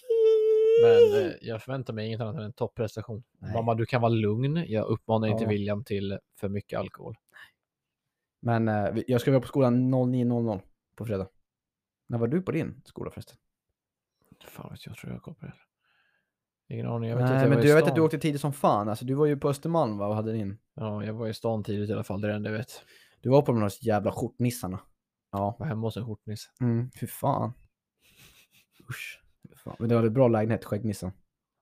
Men eh, jag förväntar mig inget annat än en topprestation.
Nej.
Mamma, du kan vara lugn. Jag uppmanar inte
Ja.
William till för mycket alkohol.
Men eh, vi- jag ska vara på skolan 09.00 på fredag. När var du på din skola förresten?
Fan vet jag, tror jag kommer. Ingen aning. Jag vet att
Nej,
jag
men
var
du,
i
jag vet
stan.
att du åkte tidigt som fan. Alltså, du var ju på Östermalm va, och hade din...
Ja, jag var i stan tidigt i alla fall. Det är det enda jag vet.
Du var på de där jävla skjortnissarna. Ja.
Var hemma hos en skjortnisse.
Mm, fy fan. Usch. Fy fan. Men det var en bra lägenhet, skäggnissen.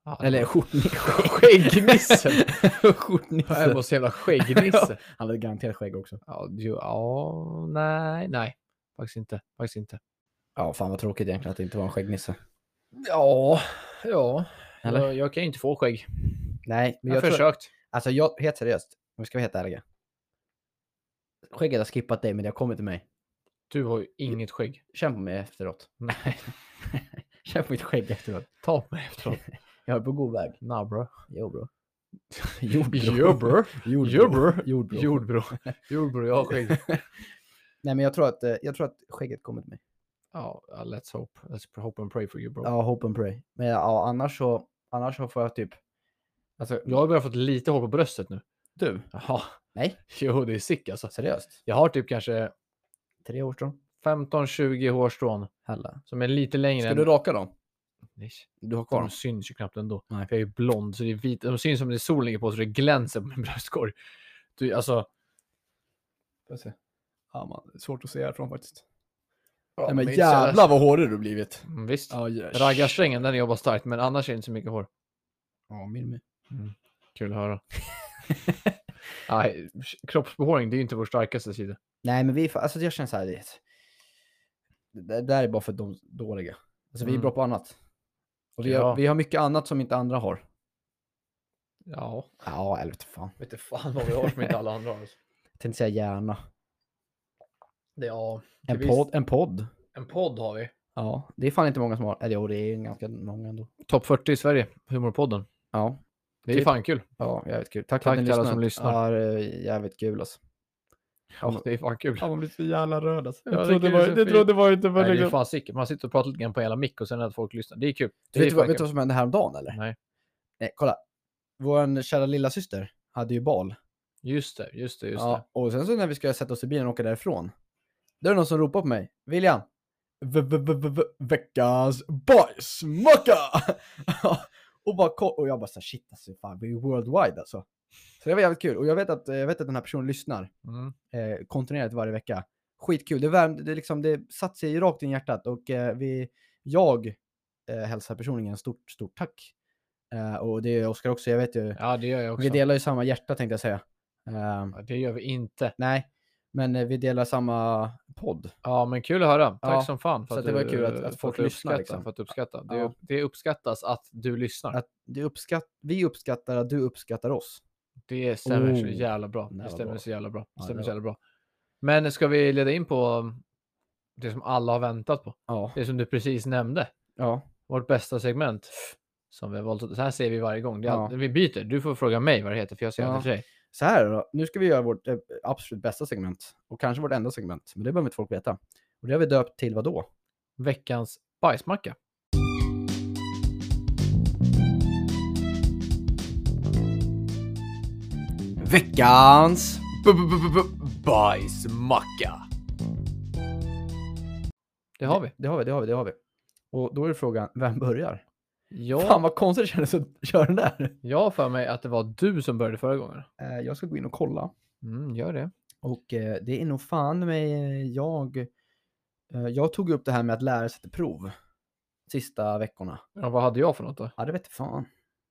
Ja, det
Eller
var- Skäggnissen!
skjortnissen.
Var hemma
skjortnissen.
hos en jävla skäggnisse.
Han hade garanterat skägg också.
ja, du, ja, nej, nej. Faktiskt inte. Faktiskt inte.
Ja, fan vad tråkigt egentligen att det inte var en skäggnisse.
Ja, ja.
Eller?
Jag, jag kan ju inte få skägg.
Nej,
Jag,
men jag,
har
tror...
försökt.
Alltså jag, helt seriöst, om vi ska vara helt ärliga. Skägget har skippat dig, men det har kommit till mig.
Du har ju inget skägg.
Känn på mig efteråt.
Nej,
Känn på mitt skägg efteråt.
ta på mig efteråt.
Jag är på god väg.
Nah, bro.
Jo bro.
Jordbro.
Jordbro.
Jordbro.
Jordbro.
Jordbro. Jordbro, jag har skägg.
Nej men jag tror att, eh, jag tror att skägget kommer till mig.
Ja, ja, let's hope. Let's hope and pray for you, bro.
Ja, hope and pray. Men ja, annars så, annars så får jag typ... Alltså,
Jag har börjat fått lite hår på bröstet nu.
du?
Jaha.
Nej.
Jo, det är sick alltså.
Seriöst?
Jag har typ kanske
Tre år sedan?
15-20 hårstrån
Hella.
som är lite längre
Ska
än...
du raka dem?
Nej,
Du har kvar
De
dem?
syns ju knappt ändå.
Nej.
För jag är ju blond, så det är vit. De syns som det är sol ligger på, så det glänser på min bröstkorg. Du, alltså...
Ja, man, svårt att se härifrån faktiskt.
Ja,
Nej, men jävlar vad hårig du blivit.
Mm, visst.
Ja, yes.
Raggarsträngen, den jobbar starkt, men annars är det inte så mycket hår.
Ja, min med.
Kul att höra. Nej, kroppsbehåring, det är ju inte vår starkaste sida.
Nej, men vi, är fa- alltså jag känner så här, det, det där är bara för de dåliga. Alltså vi är
Mm.
bra på annat. Och vi,
Ja.
har, vi har mycket annat som inte andra har.
Ja,
Ja, eller vete fan.
vet du fan vad vi har som inte alla andra har. alltså.
Jag tänkte säga gärna.
Det, ja, det
En
visst.
podd, en podd.
En podd har vi.
Ja, det är fan inte många som har. Eller jo, det är ganska många ändå.
Topp 40 i Sverige, Humorpodden.
Ja,
Det är
Typ.
fan kul.
ja jävligt kul. Tack,
Tack till alla som lyssnar.
Ja, det är jävligt kul alltså.
Ja, Alltså, det är fan kul.
man blir så jävla röd alltså.
Jag trodde var- jag trodde
var inte
Nej, det är fan sick. Man sitter och pratar lite grann på hela mick och sen att folk lyssnar. Det är kul. Det
Du typ- vet,
är
du vad,
fan
vet du
kul.
vad som hände häromdagen eller?
Nej.
Nej, kolla. Vår kära lilla syster hade ju bal.
Just det, just det, just
ja, och sen så när vi ska sätta oss i bilen och åka därifrån. Då är det någon som ropar på mig. William! V- v- v- v- v- veckans bajsmacka! och, bara, ko- och jag bara så här, shit alltså, fan, vi är ju worldwide alltså. Så det var jävligt kul. Och jag vet att, eh, jag vet att den här personen lyssnar
det. Mm.
eh, kontinuerligt varje vecka. Skitkul. Det, värmde, det, liksom, det satt sig rakt in i hjärtat och eh, vi, jag eh, hälsar personligen stort, stort tack. Eh, och det är Oskar också. Jag vet ju,
Ja, det gör jag också.
vi delar ju samma hjärta tänkte jag säga. Eh,
Ja, Det gör vi inte.
nej, men eh, vi delar samma podd.
Ja, men kul att höra. Tack
Ja,
som fan. För
så
att
det var kul att- att
för
folk
du
lyssnar,
uppskattar-
liksom.
För att uppskatta. Det,
Ja.
det uppskattas att du lyssnar.
Att det uppskatt, vi uppskattar att du uppskattar oss.
Det stämmer så
Oh,
jävla bra.
den där
Det
var
stämmer
bra.
så jävla bra. Det
Ja,
stämmer
det
så jävla bra. Men ska vi leda in på det som alla har väntat på?
Ja.
Det som du precis nämnde.
ja.
Vårt bästa segment. Som vi har valt. Så här säger vi varje gång. Det är
Ja.
alltid, vi byter. Du får fråga mig vad det heter för jag säger
Ja.
alltid till dig.
Så här då, nu ska vi göra vårt eh, absolut bästa segment och kanske vårt enda segment, men det behöver inte folk veta. Och det har vi döpt till vad då?
veckans bajsmacka.
Veckans!
Bajsmacka! Det har vi.
Det har vi, det har vi, det har vi. Och då är frågan, vem börjar?
Jag,
Fan vad konstigt det kändes att köra den där.
jag har för mig att det var du som började förra gången.
Eh, Jag ska gå in och kolla.
Mm, gör det.
Och eh, det är nog fan mig eh, jag. eh, Jag tog upp det här med att lära sig till prov sista veckorna.
Ja, vad hade jag för något då?
Ja, det vet fan.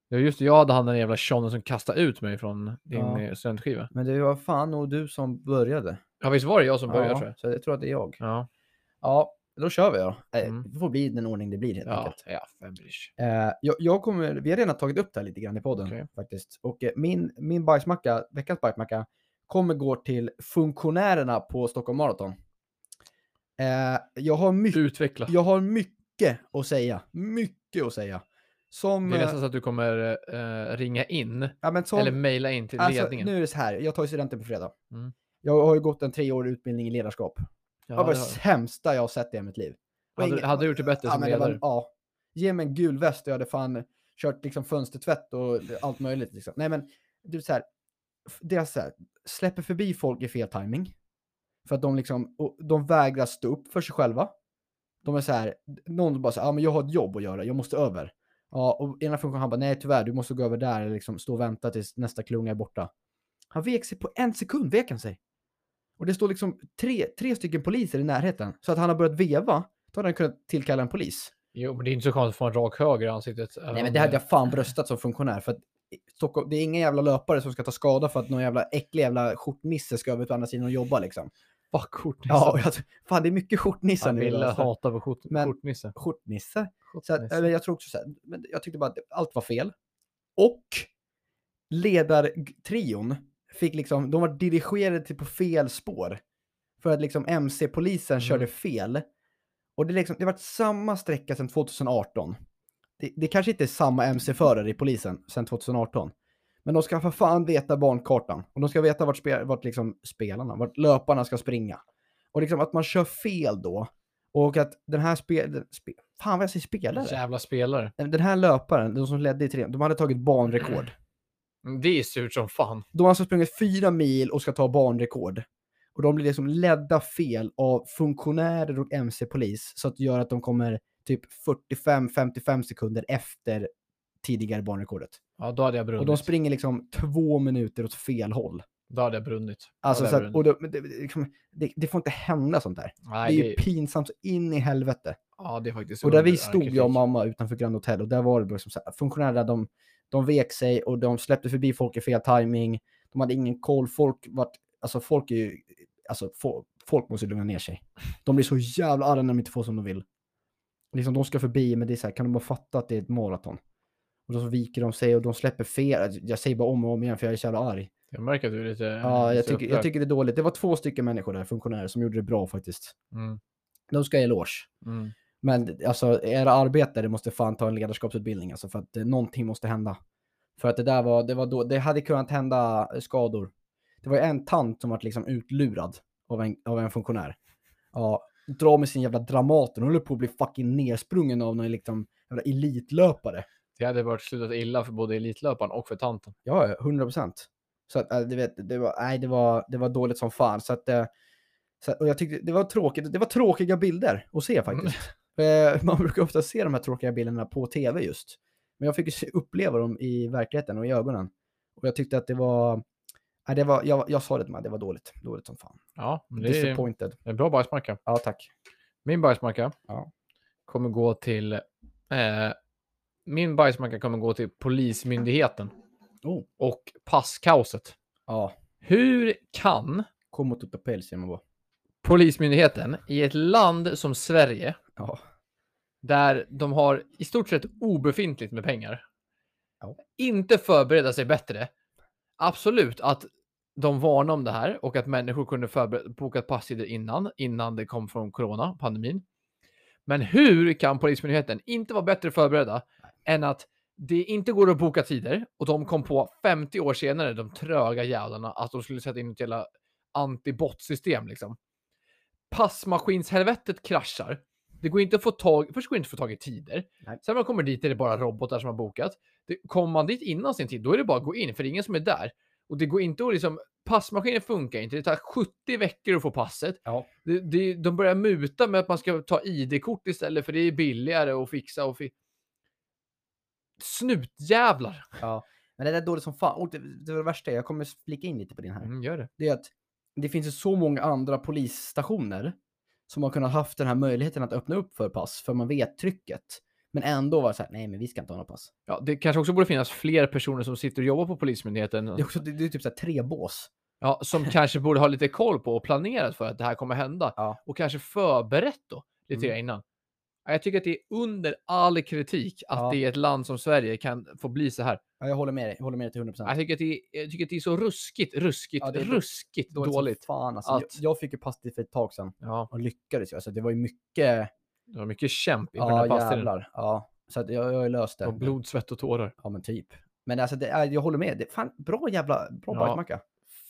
Ja, just det, jag hade han den jävla tjonnen som kastade ut mig från din
Ja.
eh, studentskiva.
Men det var fan nog du som började.
Ja, visst var det jag som började
ja,
tror jag.
Så jag tror att det är jag.
Ja,
Ja, då kör vi då. Eh,
Mm.
Det får bli den ordning det blir helt
ja,
enkelt.
ja fem ish.
Eh, jag, jag kommer, vi har redan tagit upp det här lite grann i podden
Okej.
faktiskt. Och eh, min, min bajsmacka, veckans bajsmacka, kommer gå till funktionärerna på Stockholm Marathon. Eh, jag har mycket
Utveckla.
Jag har mycket att säga. Mycket att säga. Som...
Det är
eh,
nästan så att du kommer eh, ringa in
ja, men som
eller mejla in till
alltså,
ledningen.
nu är det så här, jag tar ju studenten på fredag.
Mm.
Jag har ju gått en treårig utbildning i ledarskap.
ja,
det var
det
det
har-
sämsta jag har sett i hela mitt liv. Och
hade,
ingen-
hade du gjort det bättre
ja,
som
men det var,
ledare?
ja. Ge mig en gul väst och jag hade fan kört liksom fönstertvätt och allt möjligt. Liksom. Nej men, du så här, f- det är så här, släpper förbi folk i fel timing. För att de liksom, och de vägrar stå upp för sig själva. De är så här, någon bara så här, ja men jag har ett jobb att göra, jag måste över. Ja, och ena funktionen han bara, nej tyvärr, du måste gå över där eller liksom stå och vänta tills nästa klunga är borta. Han vek sig på en sekund, vek han sig. Och det står liksom tre, tre stycken poliser i närheten. Så att han har börjat veva, då hade han kunnat tillkalla en polis.
Jo, men det är inte så konstigt att få en rak höger i ansiktet. även
Nej men
om
det hade jag fan bröstat som funktionär. För att i Stockholm, det är inga jävla löpare som ska ta skada för att någon jävla äcklig jävla skjortnisse ska över på andra sidan och jobba liksom.
Fuck skjortnisse.
Ja, och jag, fan det är mycket skjortnissar
Fan,
nu.
Wille
alltså.
hatar på skjort,
Men-
skjortnisse.
Skjortnisse? Så att,
Skjortnisse.
eller jag tror också så här, men jag tyckte bara att allt var fel. Och ledartrion fick liksom, de var dirigerade till på fel spår. För att liksom MC-polisen
Mhm.
körde fel. Och det, är liksom, det har varit samma sträcka sedan 2018. Det, det kanske inte är samma MC-förare i polisen sedan 2018. Men de ska för fan veta bankartan. Och de ska veta vart, spe, vart liksom spelarna, vart löparna ska springa. Och liksom att man kör fel då. Och att den här spel... Spe, fan vad jag säger spelare.
Jävla spelare.
Den här löparen, de som ledde i tre, de hade tagit banrekord.
Mm, Det är surt som fan.
De har alltså sprungit fyra mil och ska ta banrekord. Och de blir liksom ledda fel av funktionärer och MC-polis. Så att det gör att de kommer typ 45-55 sekunder efter tidigare banrekordet.
Ja, då hade jag brunnit.
Och de springer liksom två minuter åt fel håll.
Då hade jag brunnit. Då
Alltså,
hade
så
jag
att, och
brunnit.
då, men det, det, liksom, det, det får inte hända sånt där.
Nej,
det
det
är ju pinsamt så in i helvete.
ja, det är faktiskt
Och där vi
under all
stod,
kritik.
jag och mamma, utanför Grand Hotel och där var det liksom så här, funktionärerna, de, de vek sig och de släppte förbi folk i fel timing. De hade ingen koll. Folk vart, alltså folk är ju, alltså fo- folk måste lugna ner sig. De blir så jävla arga när de inte får som de vill. Liksom de ska förbi, men det är så här, kan de bara fatta att det är ett maraton? Och då så viker de sig och de släpper fel. alltså, Jag säger bara om och om igen för jag är så jävla arg.
Jag märker att du är lite...
Ja, jag
lite
tycker, jag
upprörd.
tycker det är dåligt. Det var två stycken människor där, funktionärer, som gjorde det bra faktiskt.
Mm,
De ska ha eloge.
mm.
Men alltså, era arbetare måste fan ta en ledarskapsutbildning alltså, för att eh, någonting måste hända. För att det där var, det var då, det hade kunnat hända eh, skador. Det var ju en tant som var liksom utlurad av en, av en funktionär. Ja, dra med sin jävla Dramaten, hon höll på att bli fucking nersprungen av någon liksom, jävla elitlöpare.
Det hade varit slutat illa för både elitlöparen och för tanten.
Ja, ja, 100 procent. Så att, äh, du vet, det var, nej, det var, det var dåligt som fan. Så att, eh, så att, och jag tyckte det var tråkigt. Det var tråkiga bilder att se faktiskt. Eh, Man brukar ofta se de här tråkiga bilderna på tv just. Men jag fick ju se- uppleva dem i verkligheten och i ögonen. Och jag tyckte att det var, nej, det var jag, jag sa det till mig, det var dåligt. Dåligt som fan.
Ja, men det är
Disappointed.
en bra bajsmacka.
Ja, tack.
Min bajsmacka
Ja.
kommer gå till... Eh, min bajsmacka kommer gå till Polismyndigheten
Oh.
och passkaoset.
Ja,
Hur kan
kom och tutta päls säger man bara.
Polismyndigheten i ett land som Sverige,
Ja.
där de har i stort sett obefintligt med pengar,
Ja.
inte förbereda sig bättre. Absolut att de varnade om det här och att människor kunde förbereda, boka passtider innan, innan det kom från corona, pandemin. Men hur kan Polismyndigheten inte vara bättre förberedda än att det inte går att boka tider och de kom på 50 år senare, de tröga jävlarna, att de skulle sätta in ett jävla antibottsystem liksom. Passmaskinshelvetet kraschar. Det går inte att få tag, först går det inte att få tag i tider.
Nej.
Sen när man kommer dit är det bara robotar som har bokat. Det, kommer man dit innan sin tid, då är det bara att gå in, för det är ingen som är där. Och det går inte att liksom, passmaskinen funkar inte. Det tar 70 veckor att få passet.
Ja.
Det, det, de börjar muta med att man ska ta ID-kort istället, för det är billigare att fixa och fi... Snutjävlar!
Men det där är dåligt som fan. Och det, det var det värsta, jag kommer flika in lite på din här.
Mm, gör det.
Det är att det finns ju så många andra polisstationer som har kunnat haft den här möjligheten att öppna upp för pass, för man vet trycket. Men ändå var det så här, nej men vi ska inte ha något pass.
Ja, det kanske också borde finnas fler personer som sitter och jobbar på Polismyndigheten.
Det är, också, det, det är typ så här tre bås.
Ja, som kanske borde ha lite koll på och planerat för att det här kommer hända.
Ja.
Och kanske förberett då, lite
Mm.
innan. Ja, Jag tycker att det är under all kritik att
Ja.
det i ett land som Sverige kan få bli så här.
Ja, jag håller med dig, jag håller med dig till 100%. procent.
Jag tycker att det är, jag tycker att det är så ruskigt, ruskigt,
Ja, det är då-
ruskigt
dåligt.
dåligt.
som Fan, alltså,
Att-
jag, jag fick ju pass dit för ett tag sedan
Ja,
och lyckades ju. Alltså, det var ju mycket...
det var mycket kämp inför den här
Ja,
passtiden.
jävlar. Ja, så att jag, jag har ju löst det.
Och blod, svett och tårar.
Ja, men typ. Men alltså, det, är- jag håller med. Det, fan, bra jävla... Bra
Ja,
bajsmacka.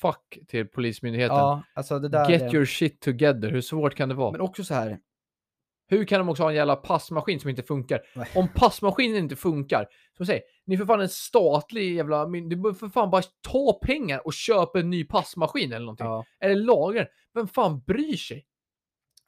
Fuck till Polismyndigheten.
Ja, alltså det där...
Get
är-
your shit together. Hur svårt kan det vara?
Men också så här...
Hur kan de också ha en jävla passmaskin som inte funkar?
Nej.
Om passmaskinen inte funkar, så säg, ni är för fan en statlig jävla myn- Du bör för fan bara ta pengar och köpa en ny passmaskin eller någonting.
Ja,
Eller lagra den. Vem fan bryr sig?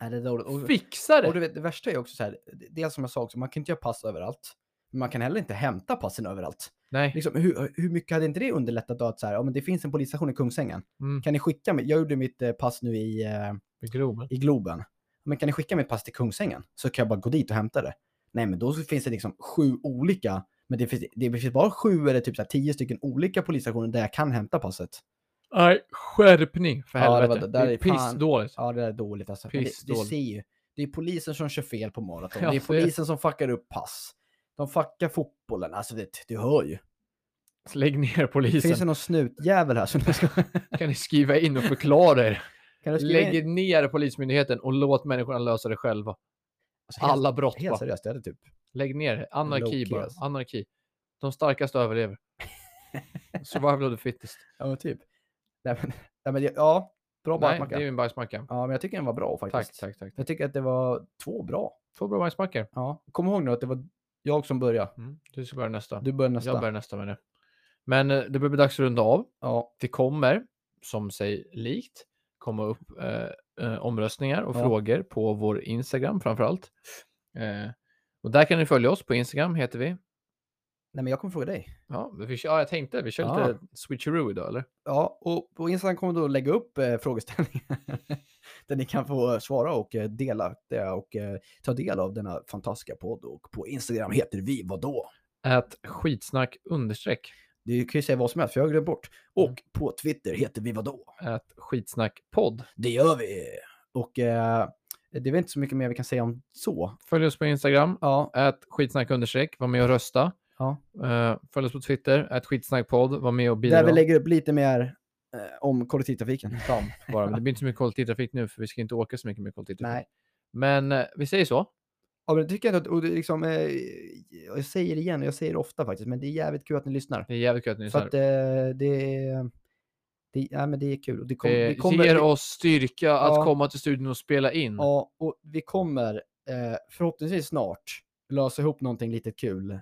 är det är dåligt. Och,
Fixa det!
och du vet, det värsta är också så här... det- Dels som jag sa också, man kan inte göra pass överallt. Men man kan heller inte hämta passen överallt.
Nej.
Liksom, hur, hur mycket hade inte det underlättat då att så här, ja, men det finns en polisstation i Kungsängen.
Mm.
Kan ni skicka mig? Jag gjorde mitt eh, pass nu i... Eh,
Groben.
i Globen. Men kan ni skicka mitt pass till Kungsängen? Så kan jag bara gå dit och hämta det. Nej, men då så finns det liksom sju olika. Men det finns, det finns bara sju eller typ så här tio stycken olika polisstationer där jag kan hämta passet.
Nej, skärpning för
Ja, det var
helvete.
det.
det,
Där
är
är fan-
pissdåligt.
Ja, det där är dåligt alltså. Men Det, du
Pissdåligt.
ser ju. Det är polisen som kör fel på maraton.
Ja,
det är
så är det.
polisen som fuckar upp pass. De fuckar fotbollen. Alltså, det, du hör ju.
Lägg ner
Finns det
polisen.
någon snutjävel här som du ska...
Kan ni skriva in och förklara er?
Kan du skriva in?
Lägg ner Polismyndigheten och låt människorna lösa det själva.
Alltså, helt-
Alla brott
Helt
bara.
seriöst, det är det typ.
Lägg ner det. Anarki
Low-key,
bara.
alltså.
Anarki. De starkaste överlever. Survival of the fittest.
Ja, men typ. Nej, men, nej, men ja. Bra
Nej,
bajsmacka.
det är min bajsmacka.
Ja, men jag tycker den var bra faktiskt.
Tack, tack, tack.
Jag tycker att det var två bra.
Två bra bajsmackor.
Ja. Kom ihåg nu att det var jag som började.
Mm. Du ska börja nästa.
Du börjar nästa.
Jag börjar nästa med det. Men eh, det börjar bli dags att runda av.
Ja.
Det kommer, som sig likt, komma upp eh, eh, omröstningar och
Ja.
frågor på vår Instagram framför allt. Eh, och där kan ni följa oss på Instagram heter vi.
Nej, men jag kommer fråga dig.
Ja, vi, kör- ja jag tänkte vi kör
Ja.
lite switcheroo idag eller?
Ja, och på Instagram kommer du att lägga upp eh, frågeställningar där ni kan få svara och eh, dela det och eh, ta del av denna fantastiska podd. Och på Instagram heter vi vadå?
Ät skitsnack understreck.
Du kan ju säga vad som helst, för jag har glömt bort. Och på Twitter heter vi vadå?
Ät skitsnack podd.
Det gör vi! Och eh, det är väl inte så mycket mer vi kan säga om så.
Följ oss på Instagram,
Ja,
ät skitsnack understreck, var med och rösta.
Ja.
Eh, följ oss på Twitter, ät skitsnackpodd, var med och bidra.
där vi lägger upp lite mer eh, om kollektivtrafiken.
Damp bara, men det blir inte så mycket kollektivtrafik nu för vi ska inte åka så mycket med kollektivtrafik.
Nej.
Men eh, vi säger så.
Ja, men det tycker jag inte att, och det är liksom, eh, jag säger det igen och jag säger det ofta faktiskt, men det är jävligt kul att ni lyssnar.
Det är jävligt kul att ni
För
lyssnar.
att eh, det, är- det, ja, men det är kul. Och det kom,
Det
vi kommer,
ger
vi-
oss styrka
Ja.
att komma till studion och spela in.
Ja, och vi kommer eh, förhoppningsvis snart lösa ihop någonting lite kul. Eh,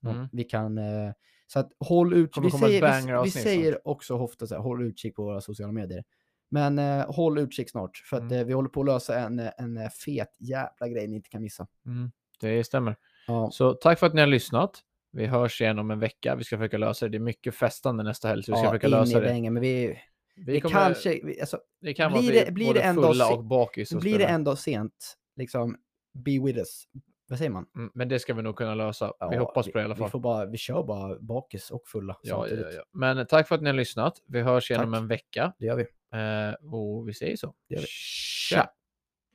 något
Mm.
Vi kan, eh, så att håll ut.
Kommer
Vi
komma ett
säger, vi, vi
banger-avsnitt snart.
säger också ofta så här, håll utkik på våra sociala medier. Men eh, håll utkik snart, för att
Mm.
eh, vi håller på att lösa en, eh, en eh, fet jävla grej ni inte kan missa.
Mm, det stämmer.
Ja.
Så tack för att ni har lyssnat. Vi hörs igen om en vecka. Vi ska försöka lösa det. Det är mycket festande nästa helg, så vi ska försöka
in
lösa
i
det.
bängen, men vi,
Vi
det
kommer-
kanske, vi, alltså,
det kan
blir
vara att vi
det- blir
både
det en dag
fulla
se-
och bakis. och
blir det
spelar.
en dag sent, liksom, be with us. Vad säger man?
Mm, Men det ska vi nog kunna lösa. vi
Ja,
hoppas på det i alla
Vi,
fall.
får bara, vi kör bara bakis och fulla
Ja, ja,
samtidigt.
ja, ja. Men tack för att ni har lyssnat. Vi hörs igen om
Tack.
en vecka
Det gör vi.
eh, och vi säger så.
Det gör vi.
Tja!